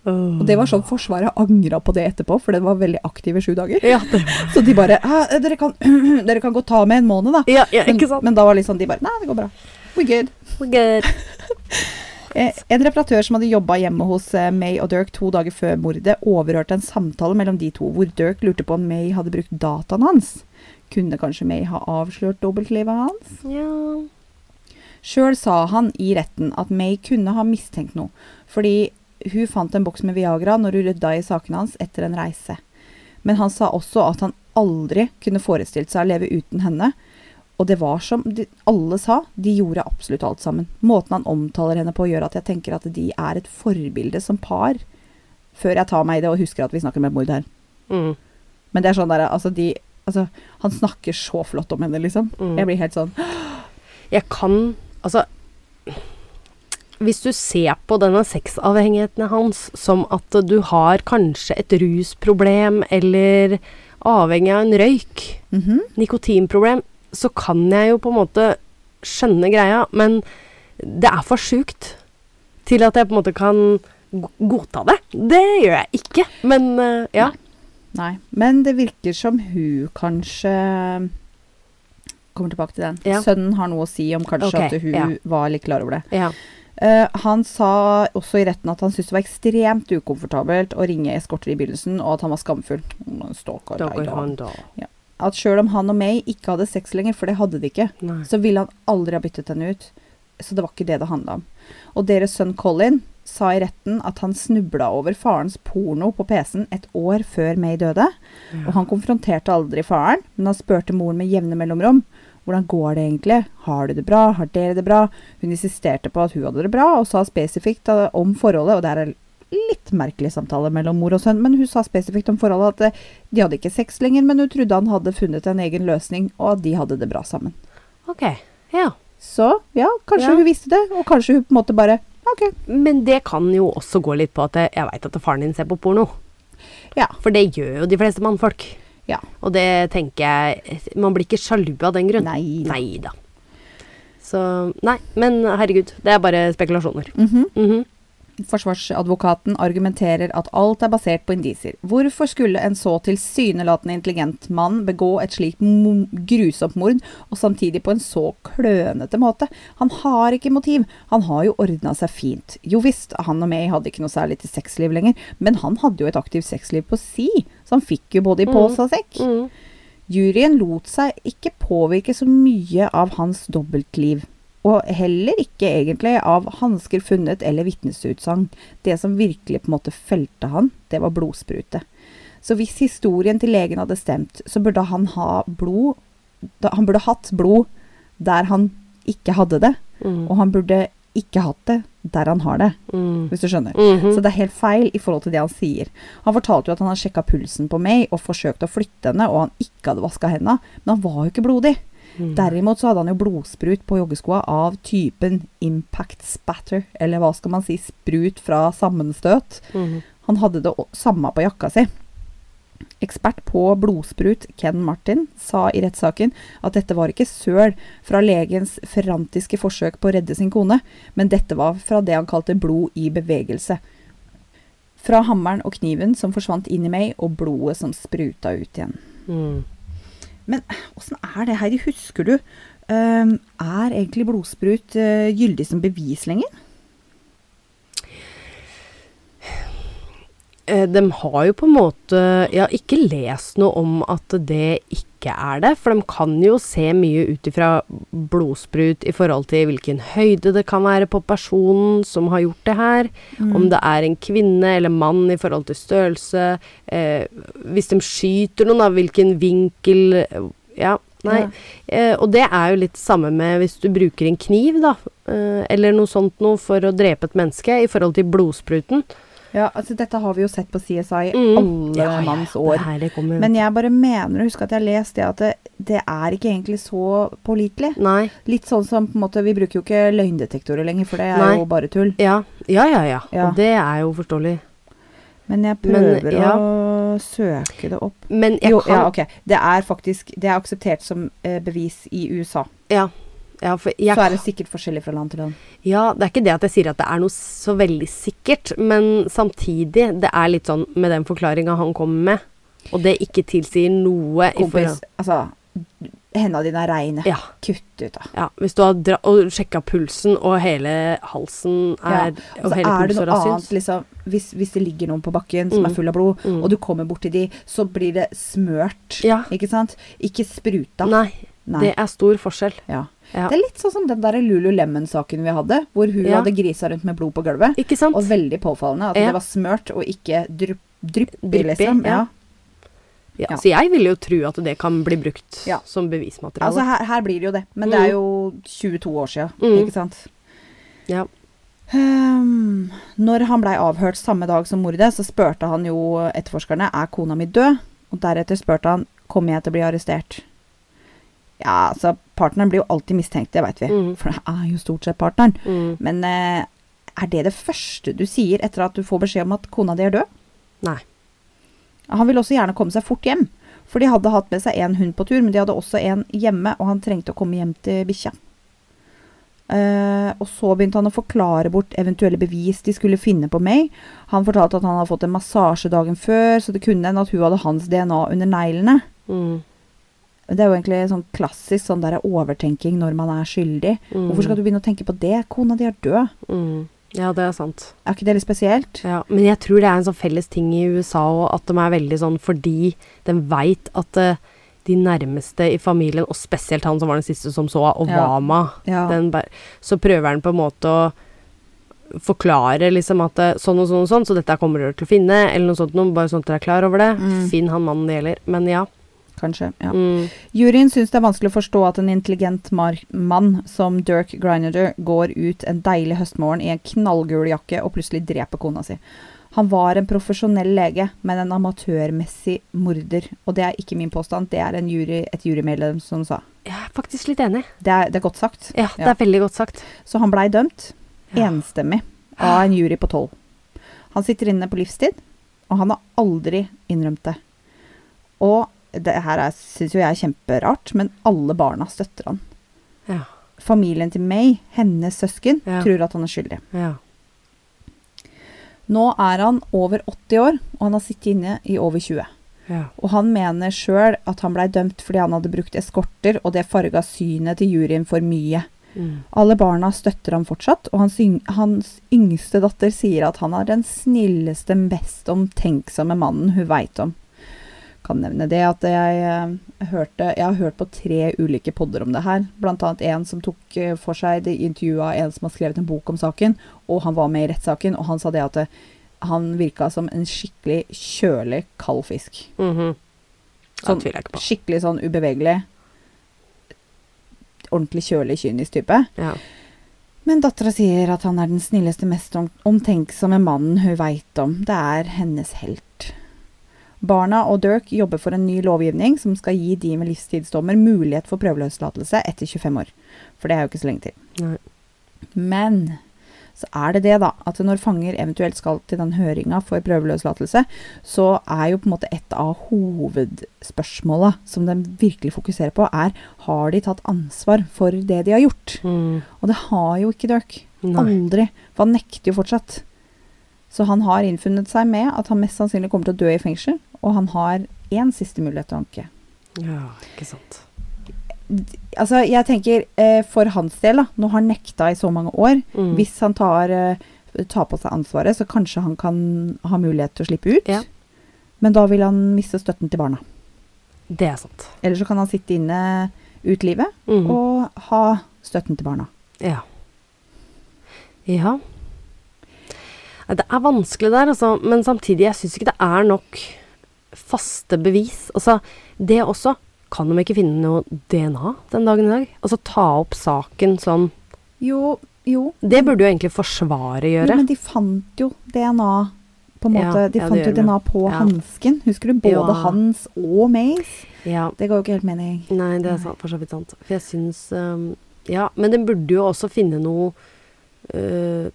S1: Og det var sånn Forsvaret angra på det etterpå, for det var veldig aktive sju dager.
S2: Ja, det,
S1: Så de bare «Hæ, dere kan, dere kan godt ta med en måned, da.
S2: ja, ja
S1: Men,
S2: ikke sant?
S1: men da var liksom de bare Nei, det går bra. We're good. Eh, en reparatør som hadde jobba hjemme hos eh, May og Dirk to dager før mordet, overhørte en samtale mellom de to, hvor Dirk lurte på om May hadde brukt dataen hans. Kunne kanskje May ha avslørt dobbeltlivet hans?
S2: ja.
S1: Sjøl sa han i retten at May kunne ha mistenkt noe, fordi hun fant en boks med Viagra når hun rydda i sakene hans etter en reise. Men han sa også at han aldri kunne forestilt seg å leve uten henne. Og det var som de, alle sa, de gjorde absolutt alt sammen. Måten han omtaler henne på, gjør at jeg tenker at de er et forbilde som par. Før jeg tar meg i det og husker at vi snakker om et mord her.
S2: Mm,
S1: Men det er sånn der, altså de Altså, han snakker så flott om henne, liksom.
S2: mm.
S1: Jeg blir helt sånn
S2: Jeg kan Altså Hvis du ser på denne sexavhengigheten hans som at du har kanskje et rusproblem eller avhengig av en røyk,
S1: mhm.
S2: nikotinproblem, så kan jeg jo på en måte skjønne greia, men det er for sjukt til at jeg på en måte kan go- godta det. Det gjør jeg ikke, men eh, ja.
S1: Nei, men det virker som hun kanskje Kommer tilbake til den.
S2: Ja.
S1: Sønnen har noe å si om kanskje
S2: Ok,
S1: at hun
S2: ja.
S1: var litt klar over det.
S2: ja.
S1: Eh, han sa også i retten at han syntes det var ekstremt ukomfortabelt å ringe eskorter i begynnelsen, og at han var skamfull. Mm, Stalker,
S2: Da
S1: nei
S2: går
S1: da.
S2: han da.
S1: At sjøl om han og May ikke hadde sex lenger, for det hadde de ikke,
S2: Nei.
S1: så ville han aldri ha byttet henne ut. Så det var ikke det det handla om. Og deres sønn Colin sa i retten at han snubla over farens porno på PC-en et år før May døde. Og han konfronterte aldri faren, men han spurte moren med jevne mellomrom. Hvordan går det egentlig? Har du det bra? Har dere det bra? Hun insisterte på at hun hadde det bra, og sa spesifikt eh, om forholdet, og det er en litt merkelig samtale mellom mor og sønn, men hun sa spesifikt om forholdet at eh, de hadde ikke sex lenger, men hun trodde han hadde funnet en egen løsning, og at de hadde det bra sammen.
S2: Ok, ja.
S1: Så ja, kanskje
S2: Ja.
S1: hun visste det, og kanskje hun på en måte bare OK.
S2: Men det kan jo også gå litt på at jeg- jeg veit at faren din ser på porno.
S1: Ja.
S2: For det gjør jo de fleste mannfolk.
S1: ja.
S2: Og det tenker jeg Man blir ikke sjalu av den grunn.
S1: Nei da.
S2: Neida. Så Nei, men herregud. Det er bare spekulasjoner.
S1: Mhm.
S2: Mhm.
S1: Forsvarsadvokaten argumenterer at alt er basert på indisier. Hvorfor skulle en så tilsynelatende intelligent mann begå et slikt mo- grusomt mord, og samtidig på en så klønete måte? Han har ikke motiv. Han har jo ordna seg fint. Jo visst, han og meg hadde ikke noe særlig til sexliv lenger, men han hadde jo et aktivt sexliv på si, så han fikk jo både i pose og sekk.
S2: Mhm.
S1: Juryen lot seg ikke påvirke så mye av hans dobbeltliv, og heller ikke egentlig av hansker funnet eller vitnesutsagn. Det som virkelig på en måte felte han, det var blodsprute. Så hvis historien til legen hadde stemt, så burde han ha blod da, Han burde hatt blod der han ikke hadde det,
S2: Mhm.
S1: og han burde ikke hatt det der han har det,
S2: Mhm.
S1: hvis du skjønner.
S2: Mhm.
S1: Så det er helt feil i forhold til det han sier. Han fortalte jo at han hadde sjekka pulsen på May og forsøkt å flytte henne, og han ikke hadde vaska henda, men han var jo ikke blodig.
S2: Mm.
S1: Derimot så hadde han jo blodsprut på joggeskoa av typen impact spatter, eller hva skal man si, sprut fra sammenstøt.
S2: Mhm.
S1: Han hadde det å- samme på jakka si. Ekspert på blodsprut Ken Martin sa i rettssaken at dette var ikke søl fra legens frantiske forsøk på å redde sin kone, men dette var fra det han kalte blod i bevegelse. Fra hammeren og kniven som forsvant inn i meg, og blodet som spruta ut igjen.
S2: Mhm.
S1: Men åssen er det, Heidi? Husker du? Ehm, er egentlig blodsprut eh, gyldig som bevis lenger?
S2: Eh, De har jo på en måte Jeg har ikke lest noe om at det ikke er det. For de kan jo se mye ut ifra blodsprut i forhold til hvilken høyde det kan være på personen som har gjort det her.
S1: Mm.
S2: Om det er en kvinne eller mann i forhold til størrelse. Eh, hvis de skyter noen, da, hvilken vinkel eh, Ja, nei.
S1: Ja.
S2: Eh, og det er jo litt samme med hvis du bruker en kniv, da. Eh, eller noe sånt noe for å drepe et menneske i forhold til blodspruten.
S1: Ja, altså dette har vi jo sett på CSI
S2: Mm.
S1: alle
S2: Ja, ja,
S1: manns
S2: ja,
S1: år.
S2: Det her det kommer
S1: Men jeg bare mener å huske at jeg har lest det at det, det er ikke egentlig så pålitelig.
S2: Nei.
S1: Litt sånn som på en måte, Vi bruker jo ikke løgndetektorer lenger, for det er
S2: Nei.
S1: jo bare tull.
S2: Ja. Ja, ja, ja.
S1: Ja.
S2: Og det er jo forståelig.
S1: Men jeg
S2: Men,
S1: prøver
S2: ja.
S1: å søke det opp.
S2: Men jeg
S1: jo,
S2: kan
S1: ja, ok. Det er faktisk det er akseptert som eh, bevis i USA.
S2: ja. Ja, for jeg,
S1: Så er det sikkert forskjellig fra land til land.
S2: ja, det er ikke det at jeg sier at det er noe så veldig sikkert, men samtidig, det er litt sånn med den forklaringa han kommer med, og det ikke tilsier noe i
S1: Kompis,
S2: forhold-
S1: altså Henda dine er reine.
S2: Ja.
S1: Kutt ut, da.
S2: ja. Hvis du har dra og sjekka pulsen, og hele halsen
S1: Ja,
S2: er
S1: Og
S2: Og
S1: så
S2: hele
S1: Altså, er det noe
S2: pulsåra syns.
S1: annet, liksom, hvis, hvis det ligger noen på bakken som
S2: Mm.
S1: er full av blod,
S2: Mm.
S1: og du kommer borti de, så blir det smørt.
S2: Ja.
S1: Ikke sant? Ikke spruta.
S2: Nei,
S1: Nei.
S2: det er stor forskjell.
S1: ja.
S2: Ja.
S1: Det er litt sånn som den der Lulu Lemon-saken vi hadde, hvor hun
S2: Ja.
S1: hadde grisa rundt med blod på gulvet.
S2: Ikke sant?
S1: Og veldig påfallende at
S2: Ja.
S1: det var smørt og ikke drypp, dryppig,
S2: Dryppig,
S1: liksom. Ja.
S2: ja. ja.
S1: ja.
S2: Så jeg vil jo tro at det kan bli brukt
S1: Ja.
S2: som bevismateriale.
S1: Altså, her, her blir det jo det. Men det
S2: Mm.
S1: er jo 22 år sia,
S2: Mm.
S1: ikke sant. Altså,
S2: ja.
S1: Ehm, når han blei avhørt samme dag som mordet, så spurte han jo etterforskerne er kona mi død. Og deretter spurte han kommer jeg til å bli arrestert. Ja, altså, partneren blir jo alltid mistenkt, det veit vi.
S2: Mm.
S1: For det er jo stort sett partneren.
S2: Mm.
S1: Men eh, er det det første du sier etter at du får beskjed om at kona di er død?
S2: Nei.
S1: Han ville også gjerne komme seg fort hjem. For de hadde hatt med seg en hund på tur, men de hadde også en hjemme, og han trengte å komme hjem til bikkja. Eh, og så begynte han å forklare bort eventuelle bevis de skulle finne på meg. Han fortalte at han hadde fått en massasje dagen før, så det kunne hende at hun hadde hans DNA under neglene.
S2: Mm.
S1: Det er jo egentlig sånn klassisk sånn der overtenking når man er skyldig.
S2: Mm.
S1: Hvorfor skal du begynne å tenke på det? Kona di er død.
S2: Mm. Ja, det er sant.
S1: Er ikke det litt spesielt?
S2: Ja, men jeg tror det er en sånn felles ting i USA òg, at de er veldig sånn fordi de veit at eh, de nærmeste i familien, og spesielt han som var den siste som så
S1: Ja.
S2: Obama,
S1: Ja.
S2: den bær- så prøver han på en måte å forklare liksom at eh, sånn og sånn og sånn, så dette kommer dere til å finne, eller noe sånt noe, bare sånn at dere er klar over det.
S1: Mm.
S2: Finn han mannen det gjelder. Men ja.
S1: Kanskje. ja.
S2: Mm.
S1: Juryen syns det er vanskelig å forstå at en intelligent mar mann som Dirk Grinader går ut en deilig høstmorgen i en knallgul jakke og plutselig dreper kona si. Han var en profesjonell lege, men en amatørmessig morder. Og det er ikke min påstand, det er en jury, et jurymedlem som sa.
S2: Jeg er faktisk litt enig.
S1: Det er, det er godt sagt.
S2: Ja, det
S1: Ja.
S2: er veldig godt sagt.
S1: Så han blei dømt
S2: Ja.
S1: enstemmig av en jury på tolv. Han sitter inne på livstid, og han har aldri innrømt det. Og det her syns jo jeg er kjemperart, men alle barna støtter han.
S2: Ja.
S1: Familien til May, hennes søsken,
S2: Ja.
S1: tror at han er skyldig.
S2: ja.
S1: Nå er han over 80 år, og han har sittet inne i over 20.
S2: ja.
S1: Og han mener sjøl at han blei dømt fordi han hadde brukt eskorter, og det farga synet til juryen for mye.
S2: Mm.
S1: Alle barna støtter ham fortsatt, og hans, yng hans yngste datter sier at han er den snilleste, mest omtenksomme mannen hun veit om. Kan nevne det at jeg eh, hørte Jeg har hørt på tre ulike podder om det her. Blant annet en som tok eh, for seg det intervjuet av en som har skrevet en bok om saken, og han var med i rettssaken, og han sa det at eh, han virka som en skikkelig kjølig kald fisk.
S2: Mhm. Det
S1: Sånn-
S2: tviler jeg ikke på.
S1: Skikkelig sånn ubevegelig, ordentlig kjølig, kynisk type.
S2: Ja.
S1: Men dattera sier at han er den snilleste, mest om- omtenksomme mannen hun veit om. Det er hennes helt. Barna og Dirk jobber for en ny lovgivning som skal gi de med livstidsdommer mulighet for prøveløslatelse etter 25 år. For det er jo ikke så lenge til.
S2: Nei.
S1: Men så er det det, da, at når fanger eventuelt skal til den høringa for prøveløslatelse, så er jo på en måte et av hovedspørsmåla som de virkelig fokuserer på, er har de tatt ansvar for det de har gjort?
S2: Mm.
S1: Og det har jo ikke Dirk.
S2: Nei.
S1: Aldri. For han nekter jo fortsatt. Så han har innfunnet seg med at han mest sannsynlig kommer til å dø i fengsel, og han har én siste mulighet til å anke.
S2: Ja, ikke sant.
S1: Altså, jeg tenker eh, for hans del, da, når han nekta i så mange år
S2: Mm.
S1: Hvis han tar, eh, tar på seg ansvaret, så kanskje han kan ha mulighet til å slippe ut.
S2: Ja.
S1: Men da vil han miste støtten til barna.
S2: Det er sant.
S1: Eller så kan han sitte inne ut livet
S2: Mhm.
S1: og ha støtten til barna.
S2: Ja. Ja. Nei, Det er vanskelig der, altså. Men samtidig, jeg syns ikke det er nok faste bevis. Altså, det også. Kan de ikke finne noe DNA den dagen i dag? Altså ta opp saken sånn.
S1: Jo, jo.
S2: Det burde jo egentlig Forsvaret
S1: Jo,
S2: gjøre.
S1: men de fant jo DNA på en
S2: Ja,
S1: måte. de
S2: ja, det
S1: fant
S2: gjør
S1: jo
S2: de.
S1: DNA på
S2: Ja.
S1: hansken. Husker du? Både
S2: Ja.
S1: hans og Mays.
S2: Ja.
S1: Det ga jo ikke helt mening.
S2: Nei, det er sant, for så vidt sant. For jeg syns um, Ja, men den burde jo også finne noe øh,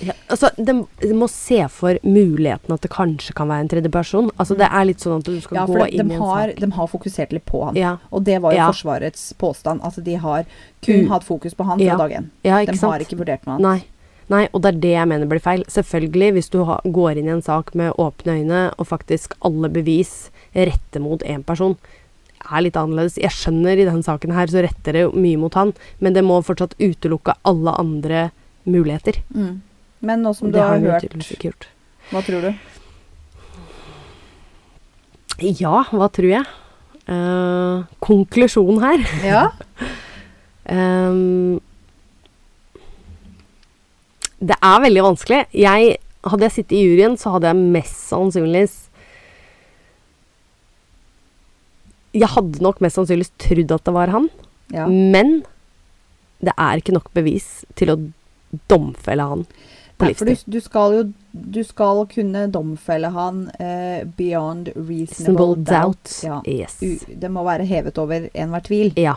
S2: ja, Altså, den, den må se for muligheten at det kanskje kan være en tredjeperson. Altså, det er litt sånn at du skal
S1: Mm. Ja, for
S2: gå
S1: de,
S2: inn
S1: de,
S2: i en
S1: har,
S2: sak.
S1: de har fokusert litt på han.
S2: Ja,
S1: Og det var jo
S2: Ja.
S1: Forsvarets påstand. Altså, de har kun
S2: Mm.
S1: hatt fokus på han fra
S2: Ja.
S1: dag én.
S2: ja,
S1: De
S2: ikke sant?
S1: har ikke vurdert noe annet.
S2: Nei. Nei, og det er det jeg mener blir feil. Selvfølgelig, hvis du ha, går inn i en sak med åpne øyne, og faktisk alle bevis retter mot én person, er litt annerledes. Jeg skjønner i denne saken her, så retter det jo mye mot han, men det må fortsatt utelukke alle andre muligheter.
S1: Mm. Men nå som du
S2: det
S1: har
S2: den jo
S1: hørt,
S2: tydeligvis ikke gjort.
S1: hva tror du?
S2: Ja, hva tror jeg? Eh, konklusjon her.
S1: Ja?
S2: Ehm, det er veldig vanskelig. Jeg, hadde jeg sittet i juryen, så hadde jeg mest sannsynligvis Jeg hadde nok mest sannsynligvis trodd at det var han,
S1: ja.
S2: men det er ikke nok bevis til å domfelle han på
S1: Nei, for du,
S2: livstid.
S1: du skal jo du skal kunne domfelle han eh, beyond reasonable
S2: Reasonable doubt.
S1: Ja.
S2: Yes.
S1: U, det må være hevet over enhver tvil.
S2: Ja.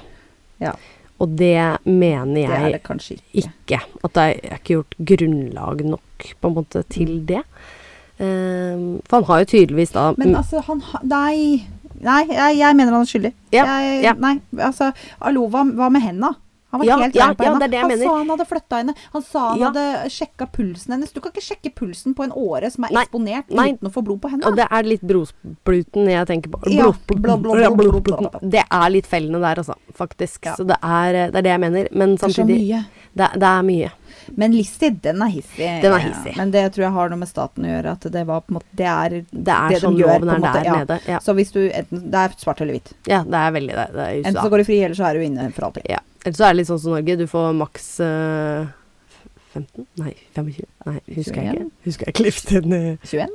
S1: Ja.
S2: Og det mener jeg
S1: Det er det kanskje ikke.
S2: ikke. At det er ikke gjort grunnlag nok på en måte
S1: Mm.
S2: til det. Ehm, for han har jo tydeligvis da
S1: Men altså, han har Nei. Nei, jeg, jeg mener han er skyldig.
S2: Ja,
S1: jeg,
S2: ja.
S1: Nei, altså Alo, hva, hva med henda? Han var
S2: Ja,
S1: helt
S2: ja,
S1: gæren på
S2: ja,
S1: henda.
S2: det er det jeg
S1: han
S2: mener.
S1: sa han hadde flytta henne. Han sa han
S2: Ja.
S1: hadde sjekka pulsen hennes. Du kan ikke sjekke pulsen på en åre som er
S2: Nei,
S1: eksponert
S2: nei.
S1: uten å få blod på
S2: Og
S1: henda.
S2: det er litt blodsbluten jeg tenker på.
S1: Ja,
S2: Blodspl-
S1: bla, bla, bla, bla, bla, bla, bla.
S2: Det er litt fellende der, altså. Faktisk.
S1: Ja.
S2: Så det er, det er det jeg mener. Men
S1: Det er så
S2: samtidig
S1: mye.
S2: Det, det er mye.
S1: Men listig, den er hissig.
S2: Den er hissig.
S1: Men det tror jeg har noe med staten å gjøre. At det var på en måte Det er
S2: Det er
S1: de
S2: sånn
S1: gjør, på
S2: loven
S1: en
S2: er
S1: måte,
S2: der
S1: ja.
S2: nede. Ja.
S1: Så hvis du enten Det er svart eller hvitt.
S2: ja, det er veldig det. det er
S1: Enten
S2: USA.
S1: så går du fri, eller så er du inne for alltid.
S2: Ja. Eller så er det litt sånn som Norge. Du får maks eh, 15? Nei, 25? Nei, husker
S1: 21?
S2: jeg ikke. Husker jeg ikke livstiden. eh.
S1: 21?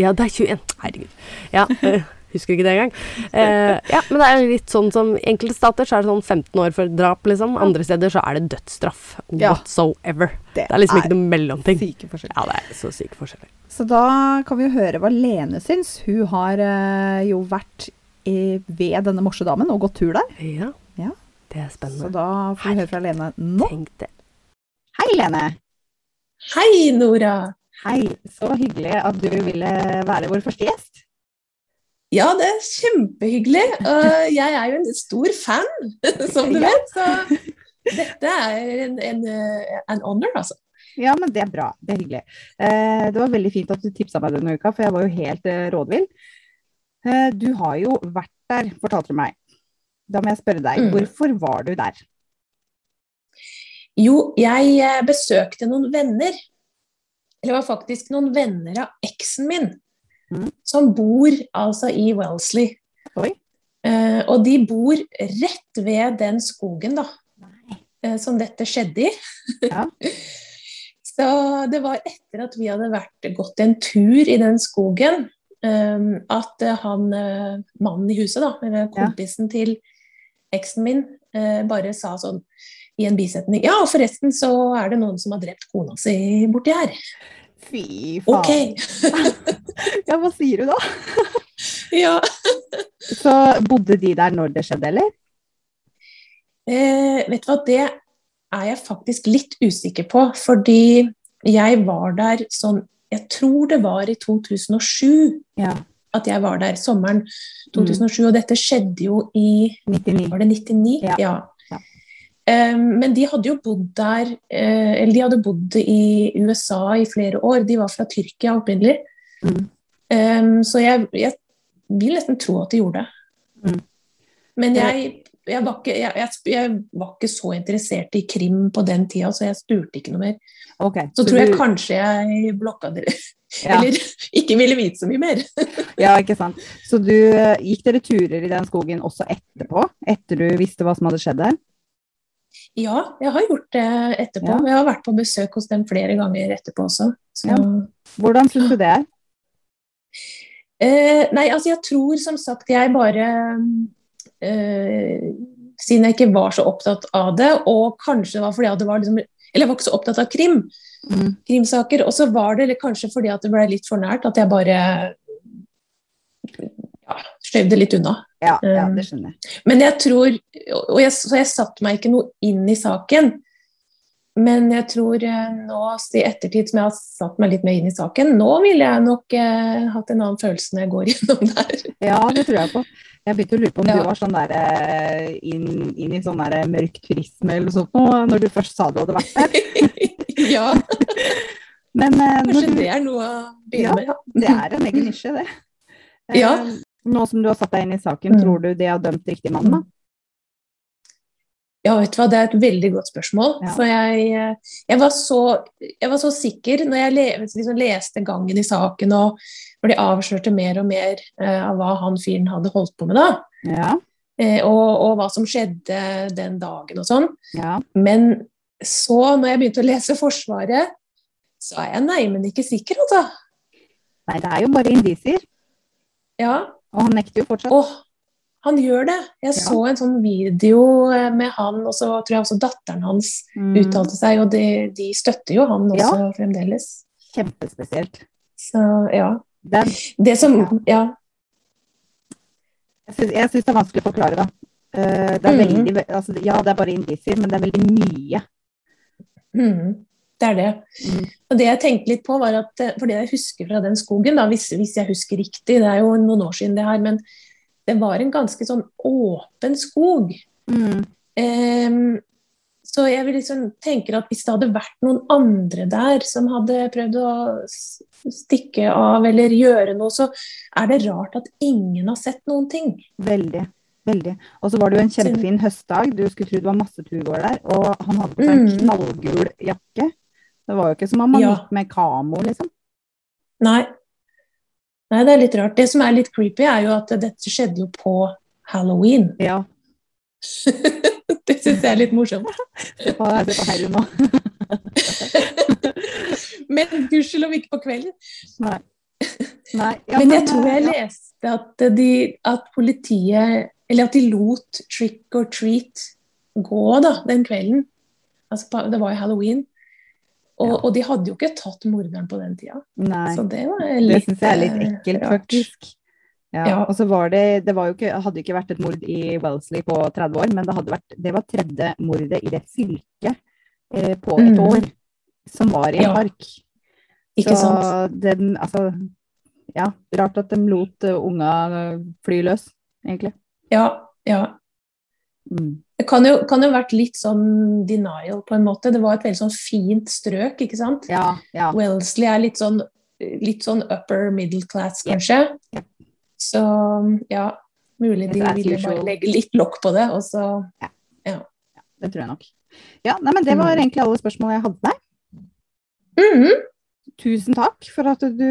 S2: Ja, det er 21. Herregud. Ja, eh, husker ikke det engang. Eh, ja, men det er jo litt sånn som enkelte stater så er det sånn 15 år for drap, liksom. Andre steder så er det dødsstraff.
S1: Ja.
S2: Whatsoever. Det er liksom ikke noe mellomting.
S1: syke forskjeller.
S2: Ja, det er så syke forskjeller.
S1: Så da kan vi jo høre hva Lene syns. Hun har eh, jo vært i, ved denne morsedamen og gått tur der.
S2: Ja,
S1: Ja.
S2: det er
S1: Så
S2: spennende.
S1: da får vi høre fra Lene nå.
S2: Tenk det.
S1: Hei, Lene.
S3: Hei, Nora.
S1: Hei. Så hyggelig at du ville være vår første gjest.
S3: Ja, det er kjempehyggelig. Og jeg er jo en stor fan, som du
S1: Ja.
S3: vet. Så dette er en, en, eh, en honor, altså.
S1: Ja, men det er bra. Det er hyggelig. Eh, det var veldig fint at du tipsa meg denne uka, for jeg var jo helt eh, rådvill. Eh, du har jo vært der, fortalte du meg. Da må jeg spørre deg,
S3: Mm.
S1: hvorfor var du der?
S3: Jo, jeg eh, besøkte noen venner. Eller det var faktisk noen venner av eksen min.
S1: Mhm.
S3: Som bor altså i Wellesley.
S1: Oi.
S3: Eh, og de bor rett ved den skogen, da. eh, Som dette skjedde i.
S1: Ja.
S3: Så det var etter at vi hadde vært, gått en tur i den skogen, eh, at eh, han eh, mannen i huset, da, eller
S1: Ja.
S3: kompisen til eksen min, eh, bare sa sånn i en bisetning Ja, og forresten så er det noen som har drept kona si borti her.
S1: Fy faen.
S3: Ok!
S1: Ja, hva sier du da?
S3: Ja.
S1: Så bodde de der når det skjedde, eller?
S3: Eh, vet du hva, det er jeg faktisk litt usikker på, fordi jeg var der sånn Jeg tror det var i 2007
S1: Ja.
S3: at jeg var der, sommeren 2007. Og dette skjedde jo i
S1: 99.
S3: Var det 99?
S1: Ja. Ja.
S3: Eh, men de hadde jo bodd der eh, Eller de hadde bodd i USA i flere år. De var fra Tyrkia opprinnelig.
S1: Mm.
S3: Eh, så jeg, jeg vil nesten tro at de gjorde det.
S1: Mm.
S3: Men jeg, jeg, var ikke, jeg, jeg, jeg var ikke så interessert i krim på den tida, så jeg spurte ikke noe mer.
S1: Ok.
S3: Så, tror jeg
S1: du-
S3: kanskje jeg blokka dere.
S1: ja.
S3: Eller ikke ville vite så mye mer.
S1: ja, ikke sant. Så du eh, gikk dere turer i den skogen også etterpå? Etter du visste hva som hadde skjedd der?
S3: Ja, jeg har gjort det etterpå.
S1: Ja.
S3: Jeg har vært på besøk hos dem flere ganger etterpå også. Så.
S1: Ja. Hvordan syns du det er?
S3: Eh, nei, altså jeg tror som sagt jeg bare eh, Siden jeg ikke var så opptatt av det, og kanskje det var fordi at det var liksom Eller jeg var ikke så opptatt av krim,
S1: Mm.
S3: krimsaker, og så var det eller kanskje fordi at det ble litt for nært, at jeg bare ja, skjøv det litt unna.
S1: Ja, ja,
S3: Um,
S1: det skjønner jeg.
S3: Men jeg tror Og jeg, så jeg satte meg ikke noe inn i saken. Men jeg tror eh, nå i ettertid som jeg har satt meg litt mer inn i saken, nå ville jeg nok eh, hatt en annen følelse når jeg går gjennom der.
S1: Ja, det tror jeg på. Jeg begynte å lure på om
S3: Ja.
S1: du var sånn der eh, inn, inn i sånn der mørk turisme eller noe sånt nå, når du først sa du hadde vært der.
S3: ja,
S1: Men eh, når
S3: kanskje
S1: du,
S3: det er noe å
S1: Ja.
S3: begynne med. ja.
S1: det er en egen nisje, det. Eh,
S3: Ja.
S1: Nå som du har satt deg inn i saken,
S3: Mm.
S1: tror du de har dømt riktig mann, da?
S3: Ja, vet du hva, det er et veldig godt spørsmål.
S1: Ja.
S3: For jeg, eh, jeg, var så, jeg var så sikker når jeg le, liksom leste gangen i saken, og når de avslørte mer og mer eh, av hva han fyren hadde holdt på med da,
S1: Ja.
S3: eh, og, og hva som skjedde den dagen og sånn.
S1: ja.
S3: Men så, når jeg begynte å lese Forsvaret, så er jeg neimen ikke sikker, altså.
S1: Nei, det er jo bare indisier.
S3: Ja,
S1: Og han nekter jo fortsatt.
S3: og han gjør det. Jeg
S1: Ja.
S3: så en sånn video eh, med han, og så tror jeg også datteren hans
S1: Mm,
S3: uttalte seg, og de, de støtter jo han også fremdeles.
S1: Kjempespesielt.
S3: Så ja.
S1: Det er,
S3: Det som
S1: Ja.
S3: Ja.
S1: jeg syns jeg syns det er vanskelig å forklare, da. Eh, Det er
S3: Mhm.
S1: veldig, ve- altså, ja, det er bare indisier, men det er veldig mye.
S3: Mm, det er det.
S1: Mm.
S3: Og det jeg tenkte litt på, var at eh, For det jeg husker fra den skogen, da, hvis, hvis jeg husker riktig, det er jo noen år siden det her, men det var en ganske sånn åpen skog. Mm. Ehm, så jeg vil liksom tenker at hvis det hadde vært noen andre der som hadde prøvd å s- stikke av eller gjøre noe, så er det rart at ingen har sett noen ting.
S1: Veldig. Veldig. Og så var det jo en kjempefin høstdag. Du skulle tro det var masse turgåer der. Og han hadde på seg en
S3: Mm.
S1: knallgul jakke. Det var jo ikke som om han
S3: Ja.
S1: gikk med kamo, liksom.
S3: Nei. Nei, det er litt rart. Det som er litt creepy, er jo at dette skjedde jo på halloween.
S1: Ja.
S3: det syns jeg er litt morsomt.
S1: Se på, se på Herre nå.
S3: Men gudskjelov ikke på kvelden.
S1: Nei. Nei. Ja,
S3: men jeg tror jeg
S1: ja.
S3: leste at, de, at politiet Eller at de lot trick or treat gå da, den kvelden. Altså, på- det var jo halloween. Og, og de hadde jo ikke tatt morderen på den tida.
S1: Nei.
S3: Så det var
S1: Det
S3: litt
S1: syns jeg er litt
S3: eh,
S1: ekkelt,
S3: rart.
S1: faktisk. Ja.
S3: Ja.
S1: Og så var det Det var jo ikke, hadde ikke vært et mord i Wellesley på 30 år, men det, hadde vært, det var tredje mordet i det fylket eh, på et
S3: Mm.
S1: år, som var i en
S3: Ja,
S1: park.
S3: Ikke
S1: så
S3: sant?
S1: den Altså, ja. Rart at de lot eh, unga eh, fly løs, egentlig.
S3: Ja. ja.
S1: Mm.
S3: Det kan jo, kan jo ha vært litt sånn denial, på en måte. Det var et veldig sånn fint strøk, ikke sant?
S1: Ja, ja.
S3: Wellesley er litt sånn, litt sånn upper middle class,
S1: Ja.
S3: kanskje.
S1: Ja.
S3: Så ja, mulig de
S1: As
S3: ville
S1: usual.
S3: bare legge litt lokk på det, og så
S1: Det tror jeg nok. Ja, nei, men det var
S3: Mm.
S1: egentlig alle spørsmål jeg hadde til deg.
S3: Mhm.
S1: Tusen takk for at du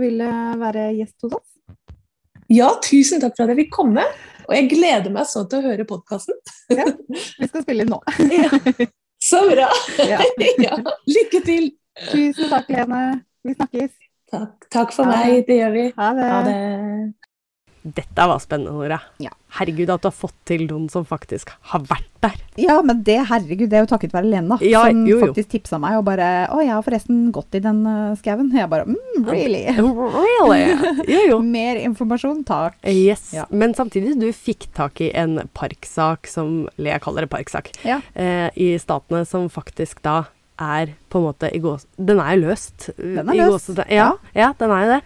S1: ville være gjest hos oss.
S3: Ja, tusen takk for at jeg fikk komme, og jeg gleder meg sånn til å høre podkasten.
S1: Vi skal spille inn nå.
S3: Så bra!
S1: Ja.
S3: ja, lykke til!
S1: Tusen takk, Lene. Vi snakkes.
S3: Takk, takk for
S1: Ha
S3: meg, det gjør vi.
S1: Ha det.
S3: Ha det.
S2: Dette var spennende, Nora.
S1: Ja.
S2: Herregud, at du har fått til noen som faktisk har vært der.
S1: Ja, men det, herregud, det er jo takket være Lena,
S2: Ja,
S1: som
S2: jo, jo.
S1: faktisk tipsa meg og bare Å, jeg har forresten gått i den eh, skauen. Jeg bare mm, Really?
S2: Really? Jo, jo.
S1: Mer informasjon, takk.
S2: Yes.
S1: Ja.
S2: Men samtidig, du fikk tak i en parksak som Jeg kaller det parksak.
S1: Ja.
S2: Eh, I statene som faktisk da er på en måte i gås... Den er jo løst.
S1: er
S2: i
S1: løst,
S2: gåsete- Ja, ja, den er jo det.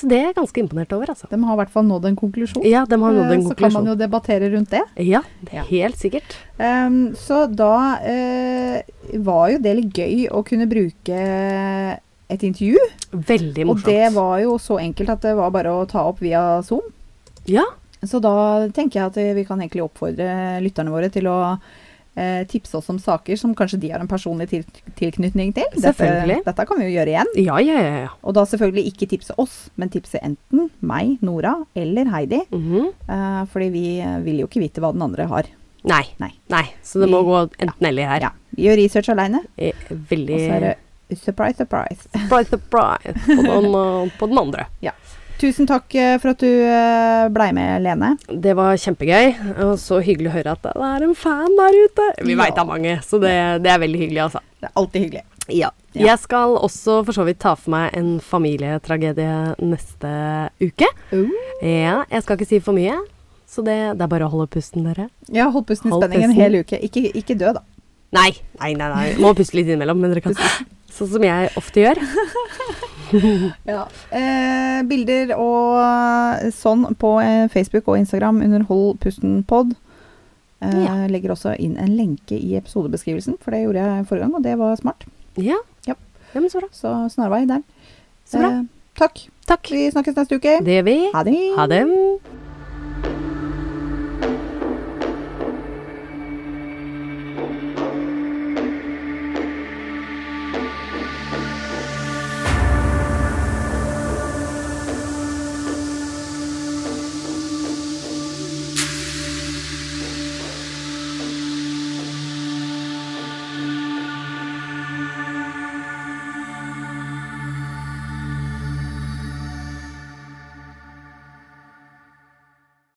S2: Så det er jeg ganske imponert over, altså.
S1: De har i hvert fall nådd en konklusjon.
S2: Ja, de har nådd
S1: Eh,
S2: en
S1: Så kan man
S2: konklusjon.
S1: jo debattere rundt det.
S2: Ja,
S1: Ja.
S2: helt sikkert.
S1: Ehm, så da eh, var jo det litt gøy å kunne bruke et intervju.
S2: Veldig
S1: Og
S2: morsomt.
S1: det var jo så enkelt at det var bare å ta opp via Zoom.
S2: Ja,
S1: Så da tenker jeg at eh, vi kan egentlig oppfordre lytterne våre til å eh, tipse oss om saker som kanskje de har en personlig til tilknytning til. Dette,
S2: Selvfølgelig.
S1: dette kan vi jo gjøre igjen.
S2: ja, ja. ja, ja.
S1: Og da selvfølgelig ikke tipse oss, men tipse enten meg, Nora eller Heidi.
S2: Mhm.
S1: Eh, fordi vi eh, vil jo ikke vite hva den andre har.
S2: Nei.
S1: Nei.
S2: Nei. Så det må
S1: Vi-
S2: gå enten-eller her.
S1: Ja, vi gjør research aleine,
S2: Eh, Veldig
S1: og så er det surprise, surprise.
S2: Surprise, surprise på den, eh, på den andre.
S1: Tusen takk eh, for at du eh, blei med, Lene.
S2: Det var kjempegøy, og så hyggelig å høre at det er en fan der ute. Vi
S1: Ja.
S2: vet veit det er mange, så det, det er veldig hyggelig, altså.
S1: Det er alltid hyggelig.
S2: Ja.
S1: Ja.
S2: Jeg skal også for så vidt ta for meg en familietragedie neste uke. Ja, jeg skal ikke si for mye, så det, det er bare å holde pusten, dere.
S1: Ja, holdt pusten i
S2: Hold
S1: spenning en
S2: pusten.
S1: hel uke. Ikke, ikke dø, da.
S2: Nei, nei, nei. nei. Må puste litt innimellom, men dere kan Sånn som jeg ofte gjør.
S1: Eh, bilder og sånn på eh, Facebook og Instagram under Hold pusten pod. Eh,
S2: Ja.
S1: Legger også inn en lenke i episodebeskrivelsen, for det gjorde jeg forrige gang, og det var smart.
S2: Ja.
S1: Ja.
S2: ja men så bra.
S1: Så snarvei der.
S2: Så bra.
S1: Eh, takk.
S2: Takk.
S1: Vi snakkes neste uke.
S2: Det gjør vi.
S1: Ha det.
S2: Ha det.